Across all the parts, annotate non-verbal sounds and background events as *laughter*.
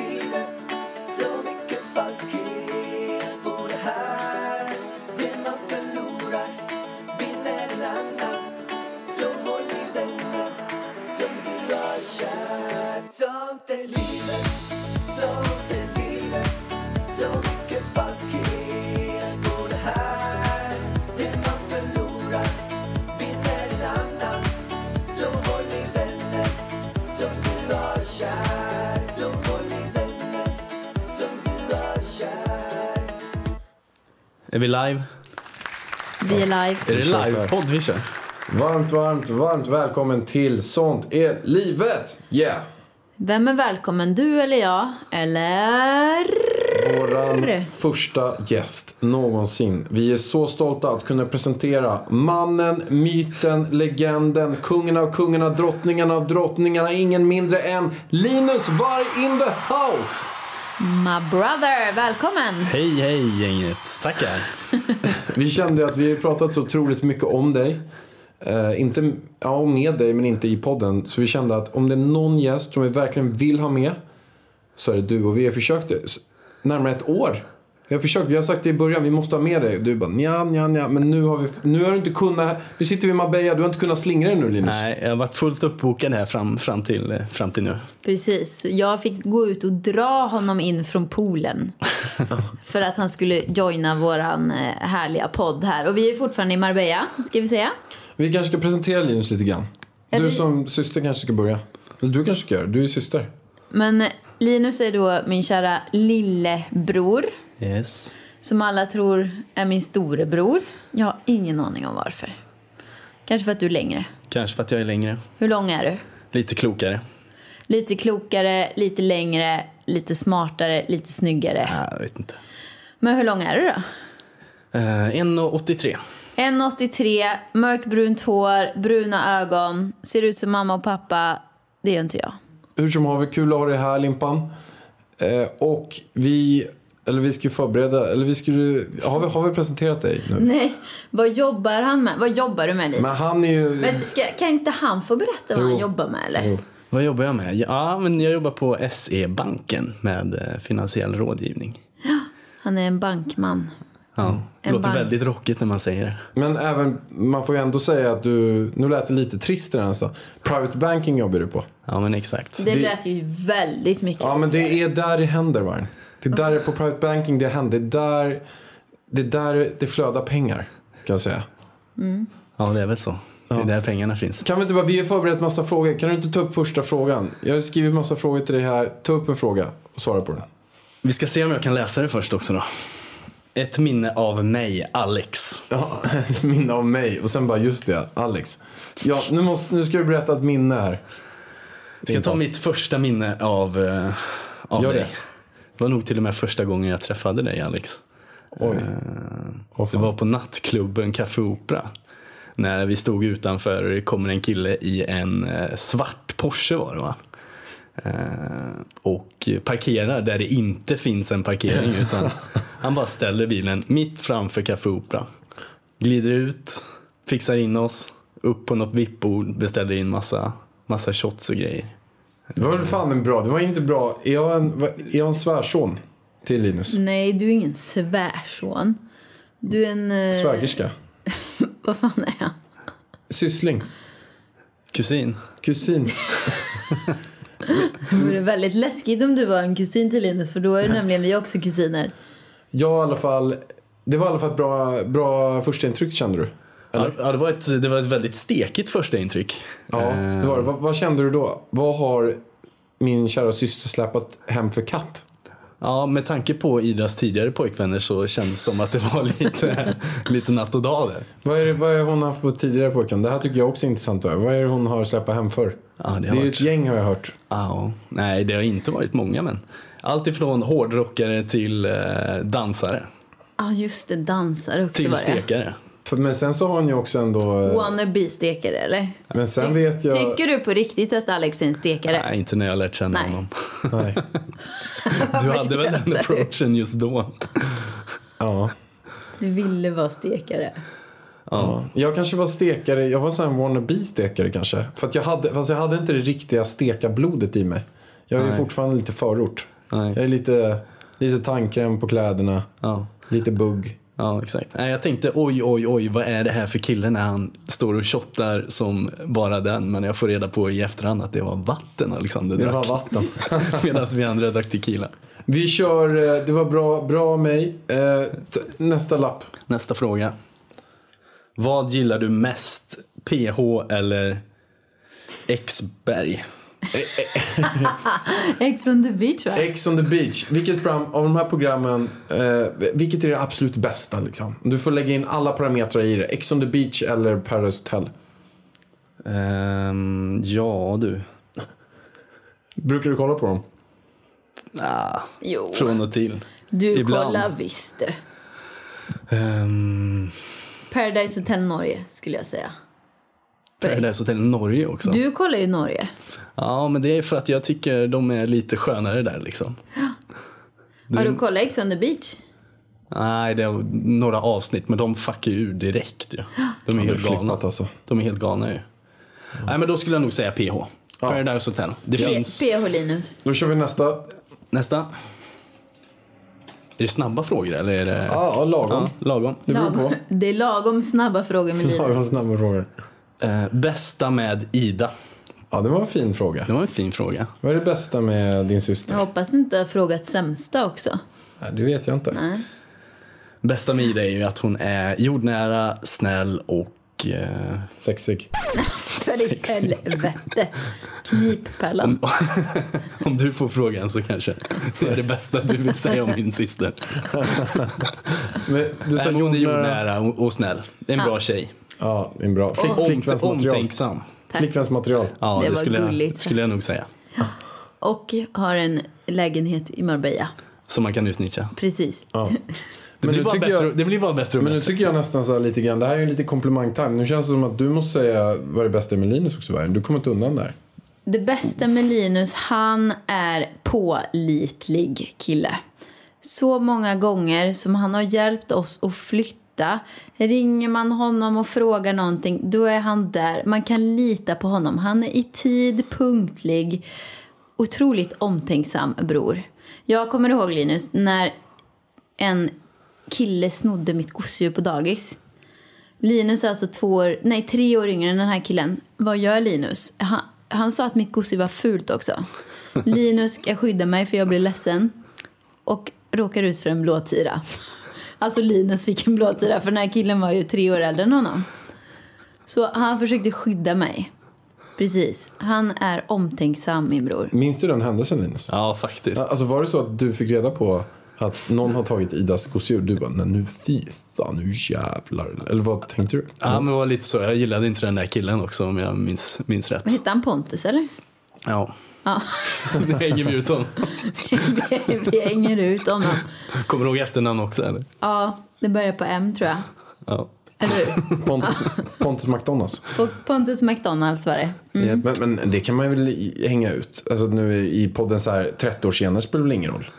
livet Så mycket falskhet på det här Det man förlorar vinner en annan Så håll i vänner som du har kär Sånt är livet, sånt är livet Så mycket falskhet på det här Det man förlorar vinner en annan Så håll i vänner som du har kär Så håll i vänner som du har kär Är vi live? Vi är live. Är det Vi kör så här. livepodd vi kör? Varmt, varmt, varmt välkommen till Sånt är livet! Yeah! Vem är välkommen? Du eller jag? Eller? Våran första gäst någonsin. Vi är så stolta att kunna presentera mannen, myten, legenden, kungen av kungarna, drottningen av drottningarna, ingen mindre än Linus Varg in the house! My brother, välkommen! Hej hej gänget, tackar. Vi kände att vi har ju pratat så otroligt mycket om dig. Eh, inte ja, med dig, men inte i podden. Så vi kände att om det är någon gäst som vi verkligen vill ha med så är det du. Och vi har försökt det s- närmare ett år. Vi har försökt, vi har sagt det i början, vi måste ha med dig. Och du bara nja, nja, nja. Men nu har, vi, nu har du inte kunnat, nu sitter vi i Marbella, du har inte kunnat slingra dig nu Linus. Nej, jag har varit fullt uppbokad här fram, fram, till, eh, fram till nu. Precis. Jag fick gå ut och dra honom in från poolen. för att han skulle joina våran eh, härliga podd här. Och vi är fortfarande i Marbella, ska vi säga. Vi kanske ska presentera Linus lite grann. Är Du det- som syster kanske ska börja. Eller du kanske ska göra det, du är syster. Men Linus är då min kära lillebror. Yes. Som alla tror är min storebror. Jag har ingen aning om varför. Kanske för att du är längre. Kanske för att jag är längre. Hur lång är du? Lite klokare. Lite klokare, lite längre, lite smartare, lite snyggare. Nej, jag vet inte. Men hur lång är du då? Eh, 1,83. 1,83, mörkbrunt hår, bruna ögon, ser ut som mamma och pappa. Det gör inte jag. Hur som har vi kul att ha dig här Limpan. Eh, och vi, eller vi ska ju förbereda, eller vi skulle, har vi, har vi presenterat dig nu? Nej, vad jobbar han med? Vad jobbar du med Liv? Men han är ju, Men ska, kan inte han få berätta vad Jo. han jobbar med eller? Jo. Vad jobbar jag med? Ja, men jag jobbar på SE-banken med eh, finansiell rådgivning. Han är en bankman. Ja, det En låter bank. väldigt rockigt när man säger det. men även, man får ju ändå säga att du, nu lät det lite trist det här nästan. Private banking jobbar du på. Ja, men exakt. Det Det- lät ju väldigt mycket. Ja men det är där det händer Varn. Det är där det är på private banking det händer. Det är där det, är där det flödar pengar. Kan jag säga. Ja, det är väl så. Det är där pengarna finns. Kan vi inte bara, vi har förberett massa frågor. Kan du inte ta upp första frågan? Jag har skrivit massa frågor till dig här. Ta upp en fråga och svara på den. Vi ska se om jag kan läsa det först också då. Ett minne av mig, Alex. Ja, *laughs* ett minne av mig. Och sen bara, just det, Alex. Ja, nu, måste, nu ska du berätta ett minne här. Ska jag ta mitt första minne av, eh, av Gör dig? det. Det var nog till och med första gången jag träffade dig Alex. Oj. Åh, Det fan. var på nattklubben Café Opera. När vi stod utanför och det kommer en kille i en eh, svart Porsche var det va? Eh, Och parkerar där det inte finns en *laughs* parkering utan han bara ställer bilen mitt framför Café Opera. Glider ut, fixar in oss, upp på något vippbord, beställer in massa, massa shots och grejer. Det var väl fan en bra. Det var inte bra. Är jag en, va- är jag en svärson till Linus? Nej, du är ingen svärson. Du är en... eh, Svägerska? *laughs* Vad fan är han? Syssling? Kusin. Kusin? Det vore väldigt läskigt om du var en kusin till Linus för då *laughs* är nämligen vi också kusiner. Jag i alla fall. Det var i alla fall ett bra, bra första intryck kände du? Ja, ja, det, var ett, det var ett väldigt stekigt första intryck. Eh, Ja, det var det. Vad, vad kände du då? Vad har min kära syster släpat hem för katt? Ja, med tanke på Idas tidigare pojkvänner så kändes det som att det var *laughs* lite, lite natt och dag där. Vad är det vad är det hon har haft på tidigare pojken? Det här tycker jag också är intressant. att höra. Vad är det hon har släpat hem för? Ja, det har det är ju varit- ett gäng har jag hört. Ja, nej, det har inte varit många men. Allt ifrån hårdrockare till eh, dansare. Ja, just det. Dansar också Till var det. stekare. För- Men sen så har hon ju också ändå... eh, Wannabe-stekare, eller? Men sen Ty- vet jag... Tycker du på riktigt att Alex är en stekare? Nej, inte när jag lärt känna Nej. honom. Nej. Du hade väl den approachen just då? Ja. Du ville vara stekare. Ja. Jag kanske var stekare, jag var en wannabe-stekare kanske. För att jag hade, fast jag hade inte det riktiga stekarblodet i mig. Jag är ju Nej. fortfarande lite förort. Nej. Jag är lite, lite tandkräm på kläderna, Ja. lite bugg. Ja, exakt. Nej, jag tänkte oj, oj, oj, vad är det här för kille när han står och shottar som bara den. Men jag får reda på i efterhand att det var vatten Alexander Det drack. var vatten. *laughs* Medan vi andra drack tequila. Vi kör, eh, det var bra, bra av mig. Eh, t- Nästa lapp. Nästa fråga. Vad gillar du mest? PH eller Xberg? Ex on the beach va? Ex on the beach. Vilket program, av de här programmen, eh, vilket är det absolut bästa liksom? Du får lägga in alla parametrar i det. Ex on the beach eller Paris Hotel. Ehm, ja du. Brukar du kolla på dem? Ah, Jo, från och till. du ibland. kollar visst du. Ehm, Paradise Hotel Norge skulle jag säga. För dig. Paradise Hotel Norge också. Du kollar ju Norge. Ja, men det är för att jag tycker de är lite skönare där liksom. Har du kollat Ex on the beach? Nej, det är några avsnitt, men de fuckar ju ur direkt ju. De är Det är helt galna. flippat alltså. De är helt galna ju. Nej, men då skulle jag nog säga PH. Paradise Hotel. Det P- finns... PH Linus. Då kör vi nästa. Nästa. Är det snabba frågor eller är det... Ja, ah, lagom. Ja, lagom. Det beror på. Lagom, det är lagom snabba frågor med Lagom Linus. snabba frågor. Eh, bästa med Ida? Ja, det var en fin fråga. Det var en fin fråga. Vad är det bästa med din syster? Jag hoppas du inte har frågat sämsta också. Nej, det vet jag inte. Nej. Bästa med Ida är ju att hon är jordnära, snäll och... Eh, *laughs* Sexig. För ditt Sexig. helvete. Knippärlan. om du får frågan så kanske det är det bästa du vill säga om min syster. Men du Nej, sa men hon är jordnära. jordnära och, och snäll. Det är en bra tjej. Ja, det är en bra. Flick, Om, flickvänsmaterial. omtänksam. Flickvänsmaterial. Ja, Det det, var skulle, jag, gulligt. skulle jag nog säga. Och har en lägenhet i Marbella. Som man kan utnyttja. Precis. Ja. Det, Men blir, nu bara tycker bättre, jag- det blir bara bättre och Men nu bättre. tycker jag nästan så här lite grann, det här är en lite komplimentime. Nu känns det som att du måste säga vad det bästa är med Linus också Vargen. Du kommer inte undan där. Det bästa med Linus, han är pålitlig kille. Så många gånger som han har hjälpt oss att flytta. Ringer man honom och frågar någonting, då är han där. Man kan lita på honom. Han är i tid, punktlig. Otroligt omtänksam bror. Jag kommer ihåg Linus, när en kille snodde mitt gosedjur på dagis. Linus är alltså två år, nej tre år yngre än den här killen. Vad gör Linus? Han, han sa att mitt gosse var fult också. Linus ska skydda mig för jag blir ledsen. Och råkar ut för en blåtira. Alltså Linus fick en blåtira för den här killen var ju tre år äldre än honom. Så han försökte skydda mig. Precis. Han är omtänksam min bror. Minns du den händelsen Linus? Ja, faktiskt. Alltså var det så att du fick reda på att någon har tagit Idas gosedjur? Du bara, nej nu fy fan, nu jävlar. Eller vad tänkte du? Ja, men det var lite så. Jag gillade inte den där killen också om jag minns, minns rätt. Hittade han Pontus eller? *laughs* Ja. Ja. *laughs* Det hänger vi ut honom. Vi, vi hänger ut honom. Kommer du ihåg efternamn också eller? Ja, det börjar på M tror jag. Ja. Eller hur? Pontus, Pontus McDonalds. På Pontus McDonalds var det. Mm. Men, men det kan man väl i- hänga ut? Alltså nu i podden så här 30 år senare spelar det väl ingen roll?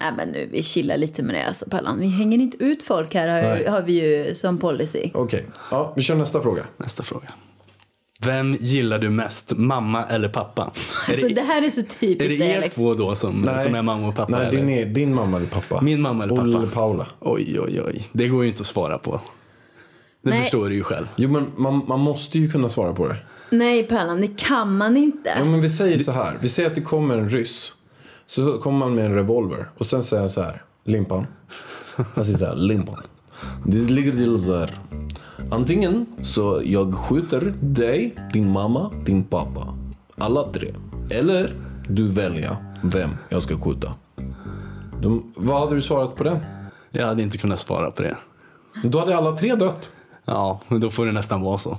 Nej men nu, vi chillar lite med det alltså Pallan. Vi hänger inte ut folk här har, Nej. ju- har vi ju som policy. Okej, ja, vi kör nästa fråga. Nästa fråga. Vem gillar du mest, mamma eller pappa? Alltså är det det, här är så är typiskt det dig er Alex. två då som, som är mamma och pappa? Nej, eller? din, är, din mamma eller pappa? Min mamma eller pappa? Olle Paula. Oj, oj, oj. Det går ju inte att svara på. Det Nej. förstår du ju själv. Jo men man, man måste ju kunna svara på det. Nej Pallan, det kan man Ja, inte. men vi säger så här. Vi säger att det kommer en ryss. Så kommer man med en revolver. Och sen säger han så här. Limpan. Han säger så här. Limpan. Det ligger till så här. Antingen så jag skjuter dig, din mamma, din pappa. Alla tre. Eller du väljer vem jag ska skjuta. De, vad hade du svarat på den? Jag hade inte kunnat svara på det. Då hade alla tre dött. Ja, men då får det nästan vara så.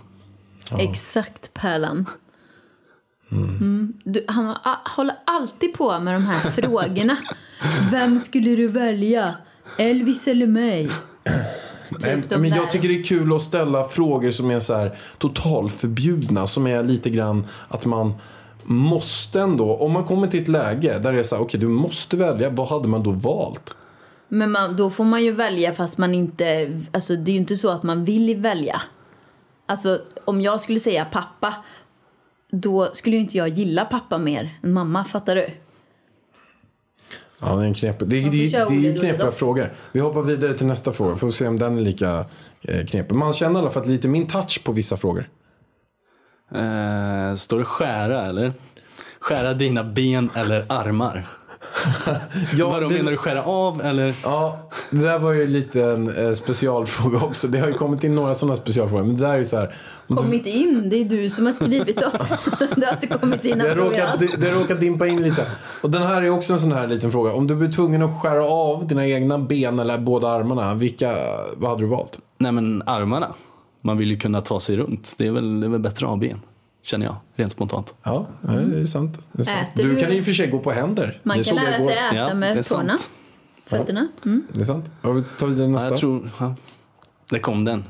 Exakt Pärlan. Mm. Mm. Du, han har, a- håller alltid på med de här *laughs* frågorna. Vem skulle du välja? Elvis eller mig? Nej, Typ de men där. jag tycker det är kul att ställa frågor som är så här totalförbjudna. Som är lite grann att man måste ändå. Om man kommer till ett läge där det är så här, okej du måste välja. Vad hade man då valt? Men man, då får man ju välja fast man inte, alltså det är ju inte så att man vill välja. Alltså om jag skulle säga pappa, då skulle ju inte jag gilla pappa mer än mamma, fattar du? Ja, det är en knepig, det, är- Man får det, köra är- det är ju olika knepiga då. frågor. Vi hoppar vidare till nästa fråga. Får se om den är lika eh, knepig. Man känner i alla fall lite min touch på vissa frågor. Eh, står det skära eller? Skära dina ben eller *laughs* armar? Ja, Vadå, det- menar du skära av eller? Ja, det där var ju lite en eh, specialfråga också. Det har ju kommit in några sådana specialfrågor. Men det där är ju så här. Kommit in, det är du som har skrivit dem. *laughs* du har inte kommit in Det några frågor råkar, alls. det, det råkar dimpa in lite. Och den här är också en sån här liten fråga. Om du blir tvungen att skära av dina egna ben eller båda armarna. Vilka, vad hade du valt? Nej men armarna. Man vill ju kunna ta sig runt. Det är väl, det är väl bättre att ha ben. Känner jag, rent spontant. Ja, det är sant. Det är sant. Äter Du du- kan i och för sig gå på händer. Man Det kan såg jag lära igår. sig äta Ja, det är med sant. tårna, fötterna. Mm. Det är sant. Ja, vi tar vidare Ja, nästa. jag tror, ja. Där kom den.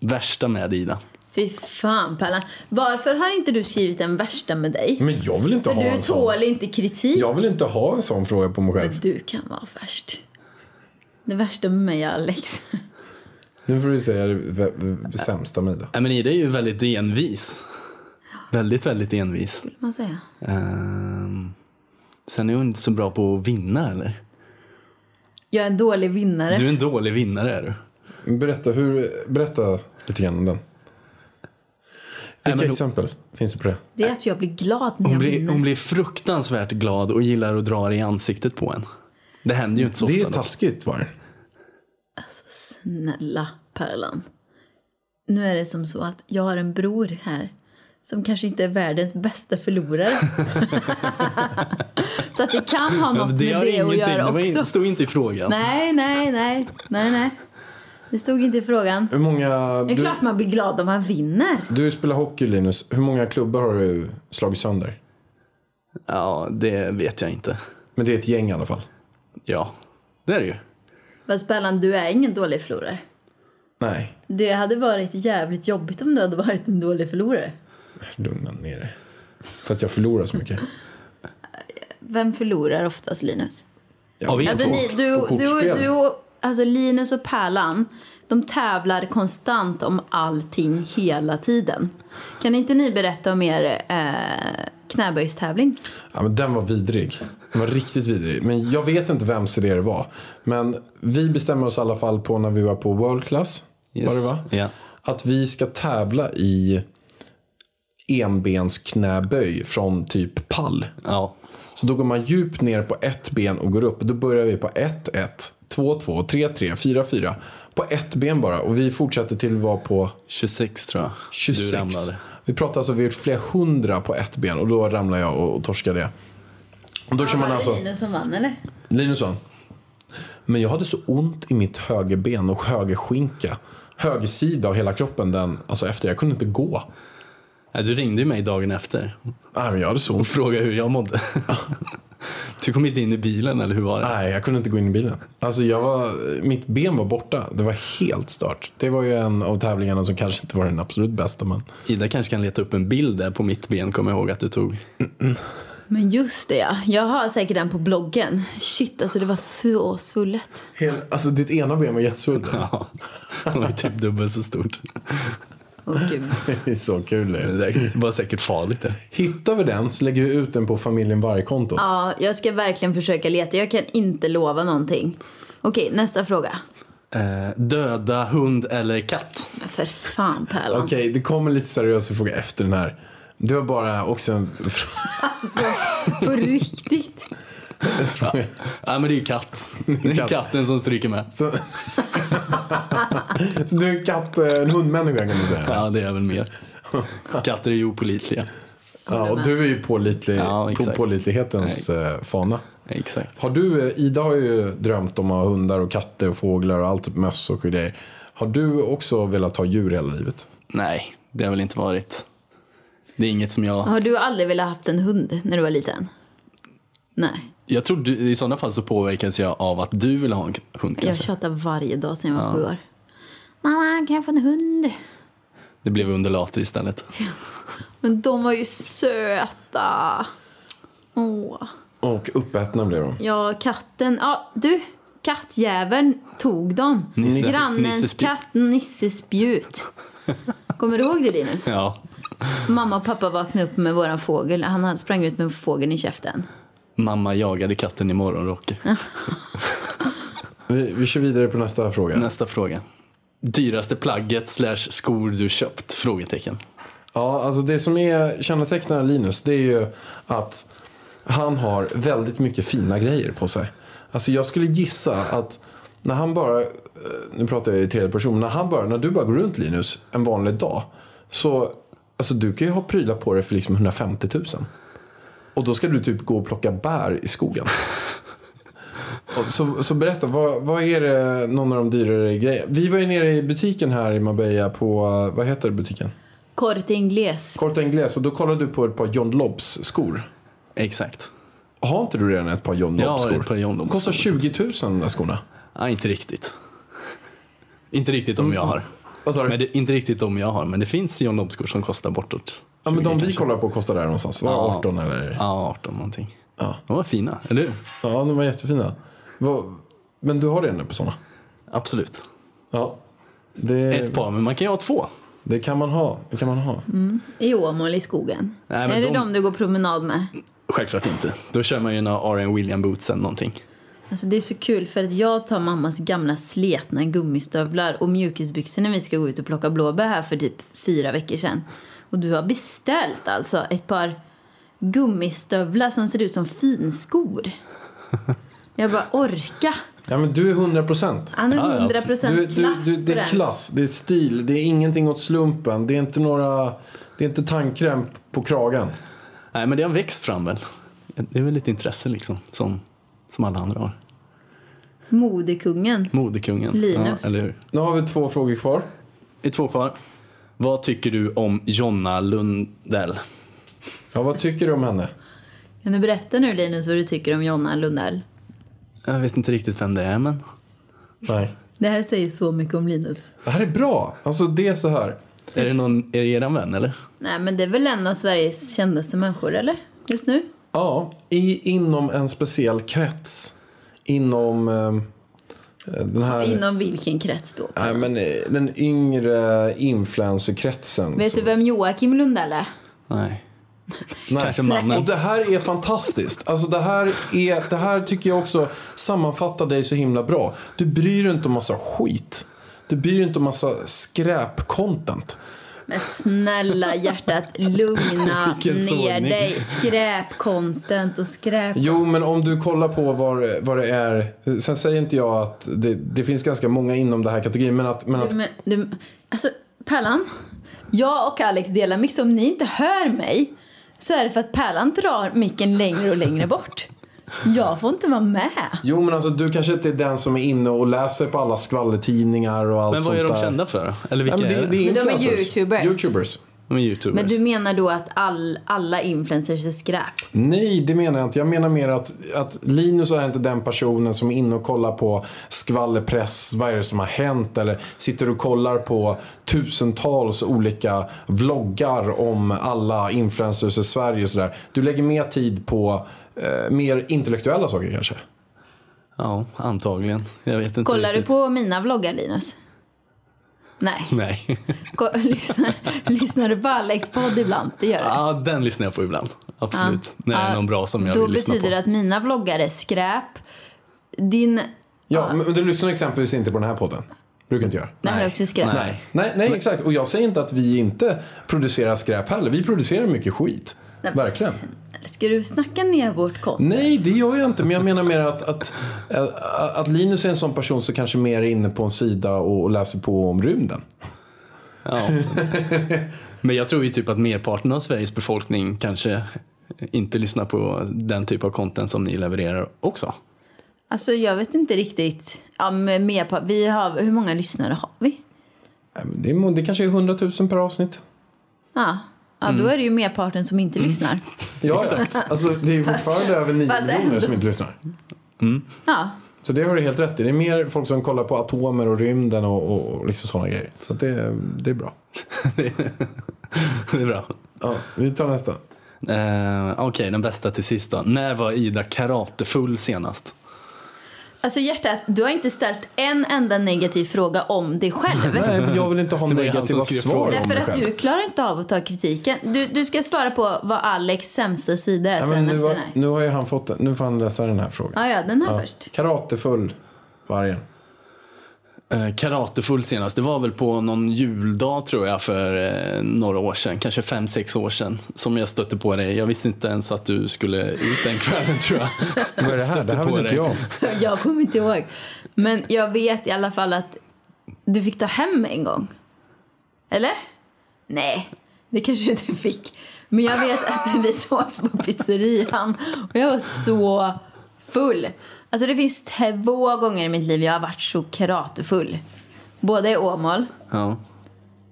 Värsta med Ida. Fy fan Pallan. Varför har inte du skrivit den värsta med dig? Men jag vill inte För ha du en sån. tål inte kritik. Jag vill inte ha en sån fråga på mig Men själv. du kan vara värst. Det värsta med mig är Alex. *laughs* Nu får du säga det v- v- sämsta med det. Nej men Ida är ju väldigt envis. Väldigt, väldigt envis. Vill man säga. Ehm, sen är hon inte så bra på att vinna eller? Jag är en dålig vinnare. Du är en dålig vinnare är du. Berätta, hur, berätta lite grann om den. men Vilka hon- exempel finns det på det? Det är att jag blir glad när Hon jag blir, vinner. hon blir fruktansvärt glad och gillar att dra i ansiktet på en. Det händer ju inte så Det är ofta. dock. taskigt var det. Alltså snälla Pärlan. Nu är det som så att jag har en bror här som kanske inte är världens bästa förlorare. *laughs* så att det kan ha något det med har det att ingenting, det göra var in- också. stod inte i frågan. Nej, nej, nej, nej, nej. Det stod inte i frågan. Hur många... Det är Du, klart man blir glad om man vinner. du spelar hockey Linus. Hur många klubbar har du slagit sönder? Ja, det vet jag inte. Men det är ett gäng i alla fall. Ja, det är det ju. Fast Pärlan, du är ingen dålig förlorare. Nej, Det hade varit jävligt jobbigt om du hade varit en dålig förlorare. lugna ner dig. För att jag förlorar så mycket. Vem förlorar oftast, Linus? Har vi en Alltså, fråga? ni, du, på du, kortspel. du, alltså Linus och Pärlan, de tävlar konstant om allting hela tiden. Kan inte ni berätta om er eh, knäböjstävling? Ja, men den var vidrig. Den var riktigt vidrig. Men jag vet inte vems idé det var. Men vi bestämmer oss i alla fall på när vi var på World Class. Yes. Var det va? Ja. Att vi ska tävla i enbensknäböj från typ pall. Ja. Så då går man djupt ner på ett ben och går upp. Då börjar vi på 1, 1, 2, 2, 3, 3, 4, 4. På ett ben bara. Och vi fortsätter till att vara på 26 tror jag. Du 26. ramlade. Vi pratar alltså, vi har gjort flera hundra på ett ben och då ramlar jag och, och torskar det. Och då kör man alltså, Linus som vann, eller? Linus vann. Men jag hade så ont i mitt högerben och högerskinka. Högersida av hela kroppen den, alltså efter, jag kunde inte gå. Nej, du ringde ju mig dagen efter Nej men jag hade så och ont. frågade hur jag mådde. *laughs* du kom inte in i bilen eller hur var det? Nej, jag kunde inte gå in i bilen. Alltså jag var, mitt ben var borta. Det var helt stört. Det var ju en av tävlingarna som kanske inte var den absolut bästa men. Ida kanske kan leta upp en bild där på mitt ben kommer jag ihåg att du *laughs* tog. Men just det, ja. Jag har säkert den på bloggen. Shit, alltså det var så svullet. Hel, alltså ditt ena ben var jättesvullet. Ja, det var ju typ dubbelt så stort. Åh gud. Det är så kul. Det. Det var säkert farligt det. Hittar vi den så lägger vi ut den på familjen Varg-kontot. Ja, jag ska verkligen försöka leta. Jag kan inte lova någonting. Okej, nästa fråga. Eh, döda hund eller *laughs* katt? Men för fan Pärlan. Okej, det kommer lite seriösa frågor efter den här. Det var bara också en fråga. Alltså, på riktigt. Ja, men det är ju katt. Det är Katt. katten som stryker med. *laughs* Så... så du är en katt, eh, en hundmänniska kan man säga. Ja, det är väl *laughs* mer. Katter är ju opålitliga. Ja, och du är ju pålitlig, Ja, på exakt. pålitlighetens eh, fana. Exakt. Har du, eh, Ida har ju drömt om att ha hundar och katter och fåglar och allt, möss och grejer. Har du också velat ha djur hela livet? Nej, det har väl inte varit. Det är inget som jag... Har du aldrig velat haft en hund när du var liten? Nej, Jag tror du, i sådana fall så påverkas jag av att du vill ha en hund jag kanske. tjatar varje dag sedan jag var sju år. Mamma, kan jag få en hund? Det blev undulater istället. Men de var ju söta. Åh. Och uppätna blev de. Ja, katten. Ja, du. kattjäveln tog dem. Nisse- Grannens Nissespjut. katt Nisse spjut. Kommer du ihåg det Linus? Ja. Mamma och pappa vaknade upp med våran fågel. Han hade- sprang ut med fågeln i käften. Mamma jagade katten i morgonrock. Vi, vi kör vidare på nästa fråga. Nästa fråga. Dyraste plagget slash skor du köpt? Frågetecken. Ja, alltså det som är kännetecknar Linus det är ju att han har väldigt mycket fina grejer på sig. Alltså jag skulle gissa att när han bara, eh, nu pratar jag i tredje person, men när, han bara, när du bara går runt Linus en vanlig dag så alltså du kan ju ha prylar på dig för liksom 150 000. Och då ska du typ gå och plocka bär i skogen. Och Så, så berätta, vad, vad är det någon av de dyrare grejerna? Vi var ju nere i butiken här i Marbella på, eh, vad heter butiken? Corte Inglés. Kort och ingles, och då kollade du på ett par John Lobbs skor. Exakt. Har inte du redan ett par John Jag Lobbs skor? har ett par John Lobb De kostar 20 000 de där skorna. Nej, inte riktigt. Inte riktigt om jag har. Vad sa du? Men det, inte riktigt om jag har, men det finns John Lobb-skor som kostar bortåt. ja, men 20 de vi kanske. kollar på kostar där någonstans. Var Ja. 18 eller? Ja. Ja, 18 någonting. Ja. De var fina, eller hur? de var jättefina. Vad- Men du har redan ett par sådana? Absolut. Ja. Det, Ett par, men man kan ju ha två. det kan man ha. Det kan man ha. I Åmål i skogen. Nej, men är det de- de du går promenad med? Självklart inte. Då kör man ju några R.N. William boots eller någonting. Alltså det är så kul för att jag tar mammas gamla sletna gummistövlar och mjukisbyxor när vi ska gå ut och plocka blåbär här för typ fyra veckor sedan. Och du har beställt alltså ett par gummistövlar som ser ut som finskor. Jag bara orka. Ja, men du är 100 procent. Han är Ja, ja, 100% absolut. Du, procent du, klass du, på det är den. klass, det är stil, det är ingenting åt slumpen. Det är inte några... Det är inte tandkräm på kragen. Nej, men det har växt fram väl. Det är väl lite intresse liksom, som, som alla andra har. Modekungen. Modekungen. Linus. Ja, eller hur? Nu har vi två frågor kvar. Det är två kvar. Vad tycker du om Jonna Lundell? Ja, vad tycker du om henne? Kan du berätta nu Linus vad du tycker om Jonna Lundell? Jag vet inte riktigt vem det är, men Nej. Det här säger så mycket om Linus. Det här är bra. Alltså det är så här. är det någon, är det eran vän eller? Nej men det är väl en av Sveriges kändaste människor eller? Just nu? Ja, i, inom en speciell krets. Inom eh, den här... Inom vilken krets då? Nej, men eh, den yngre influencerkretsen. Vet du vem Joakim Lundell är? Nej. Nej. Kanske mannen. Och det här är fantastiskt. Alltså det här, är, det här tycker jag också sammanfattar dig så himla bra. Du bryr dig inte om massa skit. Du bryr dig inte om massa skräp-content. Men *laughs* snälla hjärtat, lugna Vilken ner sågning. dig. Skräpcontent och skräp... Jo, men om du kollar på vad, vad det är. Sen säger inte jag att det, det finns ganska många inom den här kategorin. Men att, men att Men, du, alltså, Pärlan. Jag och Alex delar mick, så om ni inte hör mig så är det för att Pärlan drar micken längre och längre bort. Jag får inte vara med. Jo men alltså du kanske inte är den som är inne och läser på alla skvallertidningar och allt Men vad sånt är de där. kända för då? Eller vilka Ja, men det, är det det? Men är de är influencers. YouTubers. YouTubers. De är youtubers. Men du menar då att all, alla influencers är skräp? Nej det menar jag inte. Jag menar mer att, att Linus är inte den personen som är inne och kollar på skvallerpress. Vad är det som har hänt? Eller sitter och kollar på tusentals olika vloggar om alla influencers i Sverige och sådär. Du lägger mer tid på eh, mer intellektuella saker kanske. Ja, antagligen. Jag vet inte Kollar du riktigt. på mina vloggar, Linus? Nej. *laughs* Nej. Ko- *laughs* lyssnar, lyssnar du på Alex podd ibland? Det gör du. Ja, den lyssnar jag på ibland. Absolut. Ja. När det är Ja, någon bra som jag Då vill lyssna på. betyder det att mina vloggar är skräp. Din... Ja, men du lyssnar exempelvis inte på den här podden. Brukar inte göra. Det här är också skräp. Nej. Nej, nej exakt. Och jag säger inte att vi inte producerar skräp heller. Vi producerar mycket skit. Nej, men Verkligen. snälla, Ska du snacka ner vårt konto? Nej, det gör jag inte. Men jag menar mer att, att, att, att Linus är en sån person som kanske mer är inne på en sida och, och läser på om rymden. Ja. Men jag tror ju typ att merparten av Sveriges befolkning kanske inte lyssnar på den typ av content som ni levererar också. *laughs* Alltså jag vet inte riktigt. Ja, men mer på, vi har, hur många lyssnare har vi? Nej, Eh, men Det, är, må- det kanske är 100 000 per avsnitt. Ja, ja Mm. då är det ju merparten som inte lyssnar. Ja, Exakt. Ja. Alltså, det är fortfarande över 9 fast miljoner ändå. som inte lyssnar. Ja, Så det har du helt rätt i. Det är mer folk som kollar på atomer och rymden och, och, och liksom sådana grejer. Så att det, det är bra. Det är bra. Ja, vi tar nästa. Eh, Okej, den bästa till sist då. När var Ida karatefull senast? Alltså hjärtat, du har inte ställt en enda negativ fråga om dig själv. Nej, men jag vill inte ha *laughs* Det var ju han negativa som skrev svar frågan. Därför om mig att själv. du klarar inte av att ta kritiken. Du, du ska svara på vad Alex sämsta sida är Nej, men sen nu, efter har, den här. nu har ju han fått den. Nu får han läsa den här frågan. Ja, ja, den här först. Karatefull vargen. Eh, Karatefull senast, det var väl på någon juldag tror jag för eh, några år sedan, kanske fem sex år sedan, som jag stötte på dig. Jag visste inte ens att du skulle ut den *laughs* kvällen tror jag. Vad är det här? Stötte Det här på vet inte dig. jag om. Jag kommer inte ihåg. Men jag vet i alla fall att du fick ta hem en gång. Eller? Nej, det kanske du inte fick. Men jag vet att *laughs* vi sågs på pizzerian och jag var så full. Alltså det finns två gånger i mitt liv jag har varit så karatefull. Både i Åmål Ja.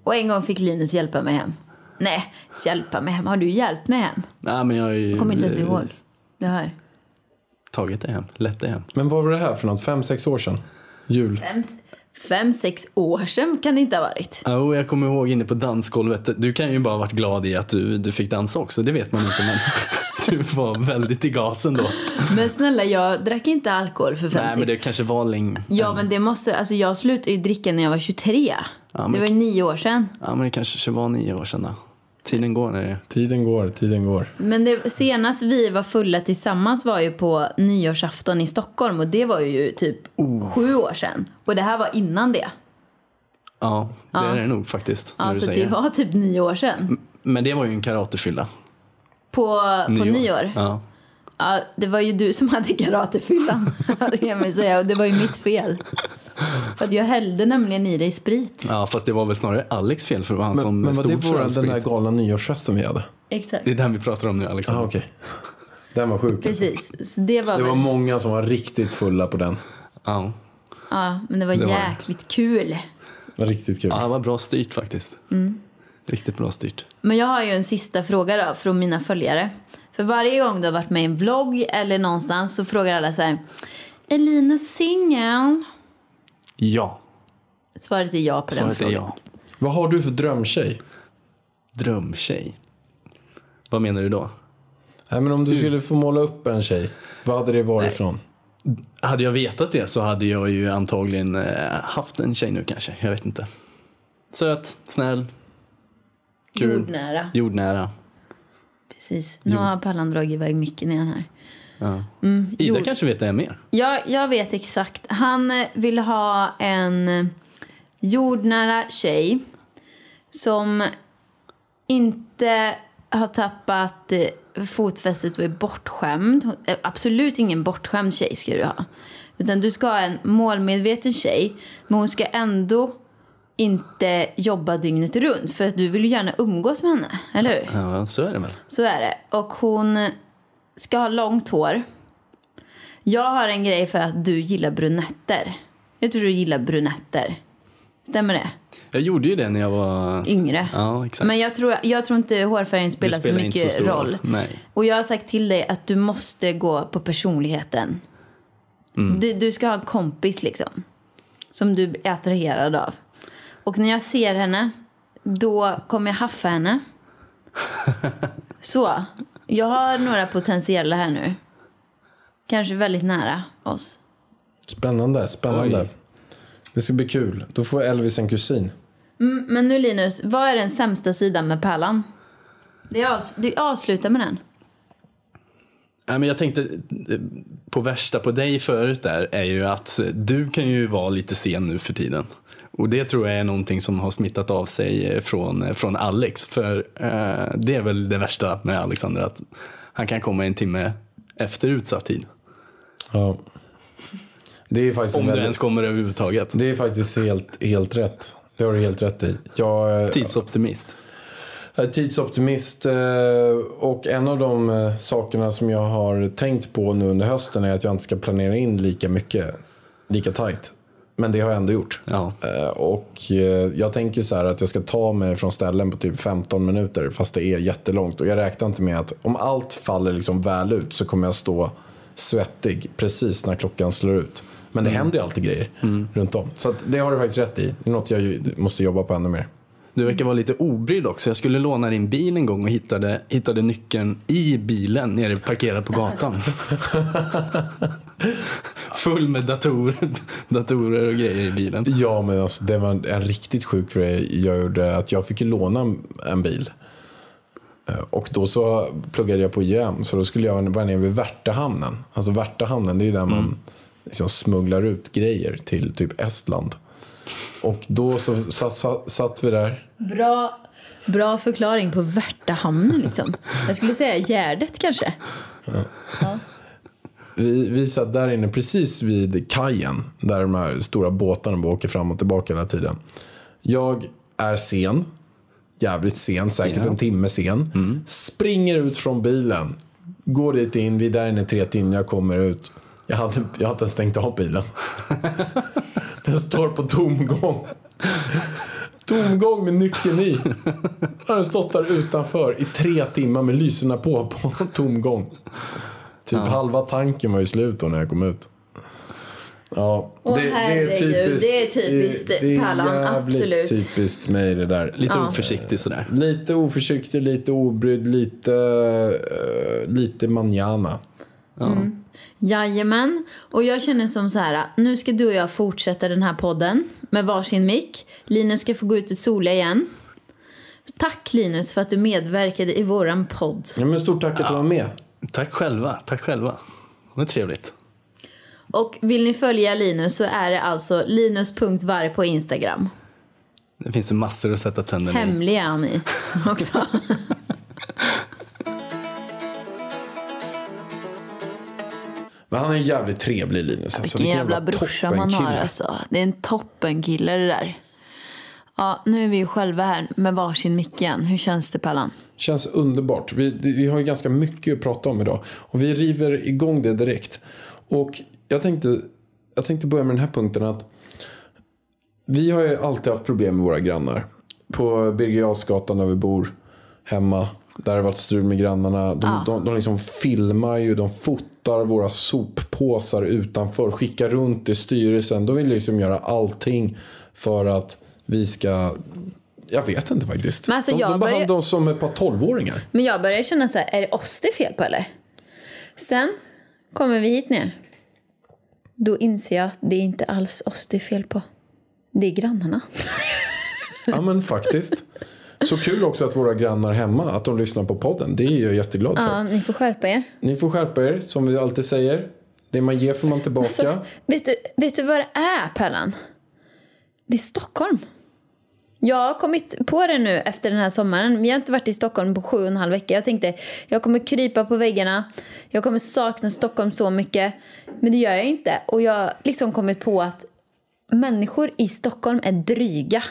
och en gång fick Linus hjälpa mig hem. Nej, hjälpa mig hem. Har du hjälpt mig hem? Nej, men jag har ju Jag kommer inte ens eh, ihåg. Det här. tagit det hem, lätt det hem. Men vad var det här för något? Fem, sex år sedan? Jul. Fem, fem, sex år sedan kan det inte ha varit. Ja, och jag kommer ihåg inne på dansgolvet, du kan ju bara ha varit glad i att du, du fick dansa också, det vet man inte men *laughs* du var väldigt i gasen då. Men snälla, jag drack inte alkohol för fem, Nej sex men det kanske var länge. Ja, men det måste... Alltså jag slutade ju dricka när jag var 23. men- Det var ju nio år sedan. Ja men det kanske var nio år sedan då. Tiden går när det är. Tiden går, tiden går. Men det senast vi var fulla tillsammans var ju på nyårsafton i Stockholm och det var ju typ Oh. sju år sedan. Och det här var innan det. Ja, det är det nog faktiskt. när Ja, du så säger. Mm. det var typ nio år sedan. Men det var ju en karatefylla. På, på nyår. Ja. Ja, det var ju du som hade karatefyllan, *laughs* det kan man säga. Och det var ju mitt fel. För att jag hällde nämligen i dig sprit. ja, fast det var väl snarare Alex fel för det var han som Men, men var stod det för våran, all den där sprit. galna nyårsfesten vi hade? Exakt. Det är den vi pratar om nu Alexander. Ja, okej. Den var sjuk. alltså. Precis. Så det var, Det var väl... många som var riktigt fulla på den. Ja. Ja, men det var var det. jäkligt kul. Det var riktigt kul. ja, det var bra styrt faktiskt. Mm. Riktigt bra styrt. Men jag har ju en sista fråga då från mina följare. För varje gång du har varit med i en vlogg eller någonstans så frågar alla så här. Är Linus singel? Ja, Svaret är ja på den svaret är frågan. ja. Vad har du för drömtjej? Drömtjej. Vad menar du då? Nej, men om du skulle få måla upp en tjej, vad hade det varit ifrån? Hade jag vetat det så hade jag ju antagligen eh, haft en tjej nu kanske. Jag vet inte. Söt, snäll, Kul. Jordnära. jordnära. Precis. Nu har Pallan dragit iväg mycket igen här. Ida Jord- kanske vet det mer. Jag, jag vet exakt. Han eh, vill ha en eh, jordnära tjej som inte har tappat eh, fotfästet och är bortskämd. Hon- eh, Absolut ingen bortskämd tjej ska du ha. Utan du ska ha en målmedveten tjej, men hon ska ändå inte jobba dygnet runt. För att du vill ju gärna umgås med henne, eller hur? Ja, så är det väl. Så är det. Och hon ska ha långt hår. Jag har en grej för att du gillar brunetter. Jag tror du gillar brunetter. Stämmer det? Jag gjorde ju det när jag var... Yngre. Ja, exakt. Men jag tror, jag tror inte hårfärgen Det spelar, så mycket roll. Nej. Och jag har sagt till dig att du måste gå på personligheten. Du, du ska ha en kompis liksom. Som du är attraherad av. Och när jag ser henne, då kommer jag haffa henne. Så. Jag har några potentiella här nu. Kanske väldigt nära oss. Spännande, spännande. Oj. Det ska bli kul. Då får Elvis en kusin. Mm, Men nu Linus, vad är den sämsta sidan med pärlan? Det är avs- du avslutar med den. Nej, men jag tänkte eh, på värsta på dig förut där är ju att du kan ju vara lite sen nu för tiden. Och det tror jag är någonting som har smittat av sig eh, från, eh, från Alex. För eh, det är väl det värsta med Alexander att han kan komma en timme efter utsatt tid. Ja. Det är faktiskt, en Om du väldigt, ens kommer överhuvudtaget. det är faktiskt helt, helt rätt. Det har du helt rätt i. Jag, eh, Tidsoptimist. Jag är Eh, tidsoptimist eh, och en av de eh, sakerna som jag har tänkt på nu under hösten är att jag inte ska planera in lika mycket, lika tajt. Men det har jag ändå gjort. Ja. Eh, Och eh, jag tänker så här att jag ska ta mig från ställen på typ 15 minuter fast det är jättelångt. Och jag räknar inte med att om allt faller liksom väl ut så kommer jag stå svettig precis när klockan slår ut. Men det händer ju alltid grejer runt om. Så att det har du faktiskt rätt i. Det är något jag ju måste jobba på ännu mer. Du verkar vara lite obrydd också. Jag skulle låna din bil en gång och hittade, hittade nyckeln i bilen nere parkerad på gatan. full med datorer, datorer och grejer i bilen. Ja, men alltså, det var en, en riktigt sjuk grej jag gjorde. Att jag fick ju låna en bil. Eh, Och då så pluggade jag på JM, så då skulle jag vara nere vid Värtahamnen. Alltså Värtahamnen, det är ju där man liksom smugglar ut grejer till typ Estland. Och då så satt, satt, satt vi där. Bra, bra förklaring på Värtahamnen liksom. Jag skulle säga Gärdet kanske. Vi, vi satt där inne precis vid kajen. Där de här stora båtarna bara åker fram och tillbaka hela tiden. Jag är sen. Jävligt sen. Säkert en timme sen. Springer ut från bilen. Går dit in. Vi är där inne i tre timmar. Jag kommer ut. Jag hade, jag hade inte ens stängt av bilen. *laughs* Den står på tomgång. Tomgång med nyckeln i. Har Den stått där utanför i tre timmar med lyserna på på tomgång. Typ halva tanken var ju slut då när jag kom ut. Ja, Åh, herregud, det är typiskt Pallan, jävligt absolut. typiskt mig det där. Lite oförsiktig sådär. Lite oförsiktig, lite obrydd, lite, eh, lite manjana. Jajamän. Och jag känner som så här, nu ska du och jag fortsätta den här podden med varsin mick. Linus ska få gå ut i solen igen. Tack Linus för att du medverkade i våran podd. Ja, men stort tack att du var med. Tack själva, tack själva. Det är trevligt. Och vill ni följa Linus så är det alltså linus.varg på Instagram. Det finns massor att sätta tänderna i. Hemlig är han i också. Men han är en jävligt trevlig Linus. Alltså, Vilken jävla brorsa man har toppenkille. alltså. Det är en toppenkille det där. Ja, nu är vi ju själva här med varsin mick igen. Hur känns det Pallan? Känns underbart. Vi, vi har ju ganska mycket att prata om idag. Och vi river igång det direkt. Och jag tänkte, jag tänkte börja med den här punkten att vi har ju alltid haft problem med våra grannar. På Birger Jarlsgatan där vi bor, hemma, där har det varit strul med grannarna. De, de, de liksom filmar ju, de fotar våra soppåsar utanför, skickar runt till styrelsen. De vill liksom göra allting för att vi ska... Jag vet inte faktiskt. Men alltså, de, jag de börjar- behandlar oss som ett par tolvåringar. Men jag börjar känna så här, är det oss det är fel på eller? Sen kommer vi hit ner. Då inser jag att det är inte alls oss det är fel på. Det är grannarna. Ja men faktiskt. Så kul också att våra grannar hemma, att de lyssnar på podden. Det är jag jätteglad för. Ja, ni får skärpa er. Ni får skärpa er, som vi alltid säger. Det man ger får man tillbaka. Så, Alltså, vet, du, vet du vad det är, Pärlan? Det är Stockholm. Jag har kommit på det nu efter den här sommaren. Vi har inte varit i Stockholm på sju och en halv vecka. Jag tänkte, jag kommer krypa på väggarna. Jag kommer sakna Stockholm så mycket. Men det gör jag inte. Och jag har liksom kommit på att människor i Stockholm är dryga.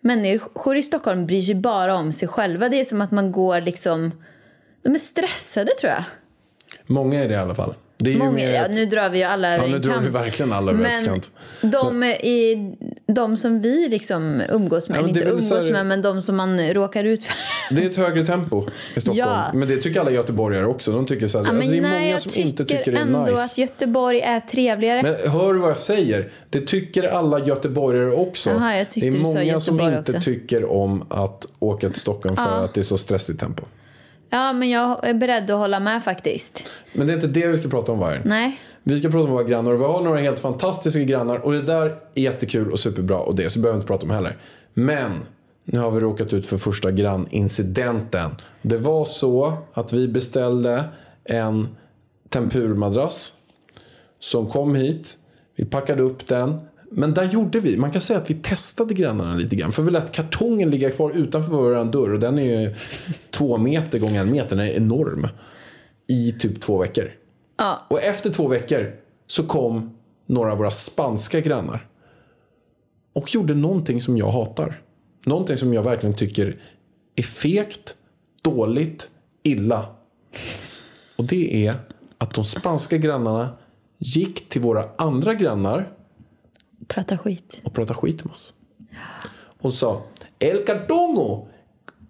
Människor i Stockholm bryr sig bara om sig själva. Det är som att man går liksom... De är stressade tror jag. Många är det i alla fall. Det är ju Många, mer ja, ett- nu drar vi ju alla över Ja, nu en drar kam. vi verkligen alla över en kant. de, i, de som vi liksom umgås med, Ja, men det inte är väl umgås så här- med, men de som man råkar ut för. det är ett högre tempo i Stockholm. Ja. Men det tycker alla göteborgare också. De tycker så här, Ja, men alltså, det är nej, många jag som tycker inte tycker det ändå är nice. att Göteborg är trevligare. Men hör du vad jag säger? Det tycker alla göteborgare också. Jaha, jag det tyckte är du sa många som Göteborg inte också. tycker om att åka till Stockholm för att det är så stressigt tempo. Ja, men jag är beredd att hålla med faktiskt. Men det är inte det vi ska prata om vargen. Nej. Vi ska prata om våra grannar och vi har några helt fantastiska grannar och det där är jättekul och superbra och det så behöver vi inte prata om heller. Men nu har vi råkat ut för första grannincidenten. Det var så att vi beställde en tempurmadrass som kom hit. Vi packade upp den. Men där gjorde vi, man kan säga att vi testade grannarna lite grann. För vi lät kartongen ligga kvar utanför vår dörr och den är ju två meter gånger en meter, den är enorm. I typ två veckor. Ja, Och efter två veckor så kom några av våra spanska grannar. Och gjorde någonting som jag hatar. Någonting som jag verkligen tycker är fegt, dåligt, illa. Och det är att de spanska grannarna gick till våra andra grannar prata skit. och pratade skit med oss. Hon sa El Cartongo!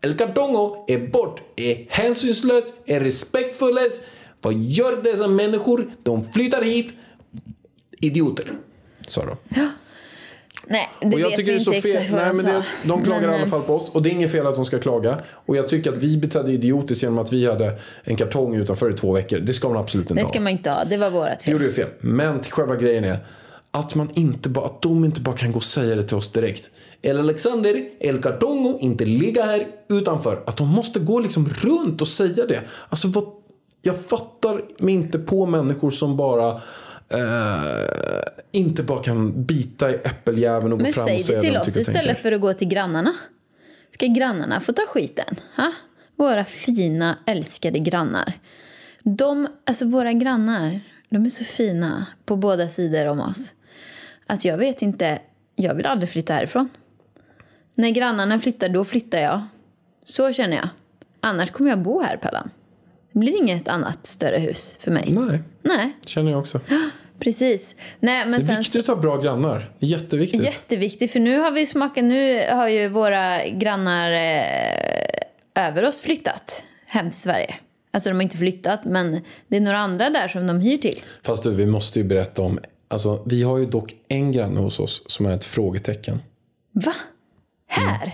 El Cartongo är bort, är hänsynslös, är respektfullös. Vad gör dessa människor? De flyttar hit. Idioter, sa de. Nej, det och jag vet tycker vi det är så inte fel. exakt vad Nej, de men det, sa. de klagar Men, i alla eh, fall på oss. Och det är inget fel att de ska klaga. Och jag tycker att vi betedde idiotiskt genom att vi hade en kartong utanför i två veckor. Det ska man absolut inte Det ha. ska man inte ha. Det var vårt Vi fel. gjorde ju fel. Men till själva grejen är att, man inte bara, att de inte bara kan gå och säga det till oss direkt. El Alexander, El Cartongo, inte ligga här utanför. Att de måste gå liksom runt och säga det. Alltså vad, jag fattar mig inte på människor som bara eh, inte bara kan bita i äppeljäveln och gå Men fram och säg säga det till de oss tycker och istället tänker. för att gå till grannarna. Ska grannarna få ta skiten? Ha? Våra fina, älskade grannar. De, alltså våra grannar, de är så fina på båda sidor om oss. Att jag vet inte, jag vill aldrig flytta härifrån. När grannarna flyttar, då flyttar jag. Så känner jag. Annars kommer jag bo här, Pallan. Det blir inget annat större hus för mig. Nej, Nej, känner jag också. precis. Nej, men Det är sen viktigt att ha bra grannar. Det är Jätteviktigt. Jätteviktig, för nu har vi smakat, nu har ju våra grannar eh, över oss flyttat hem till Sverige. Alltså de har inte flyttat, men det är några andra där som de hyr till. Fast du, vi måste ju berätta om... Alltså, vi har ju dock en granne hos oss som är ett frågetecken. Va? Här?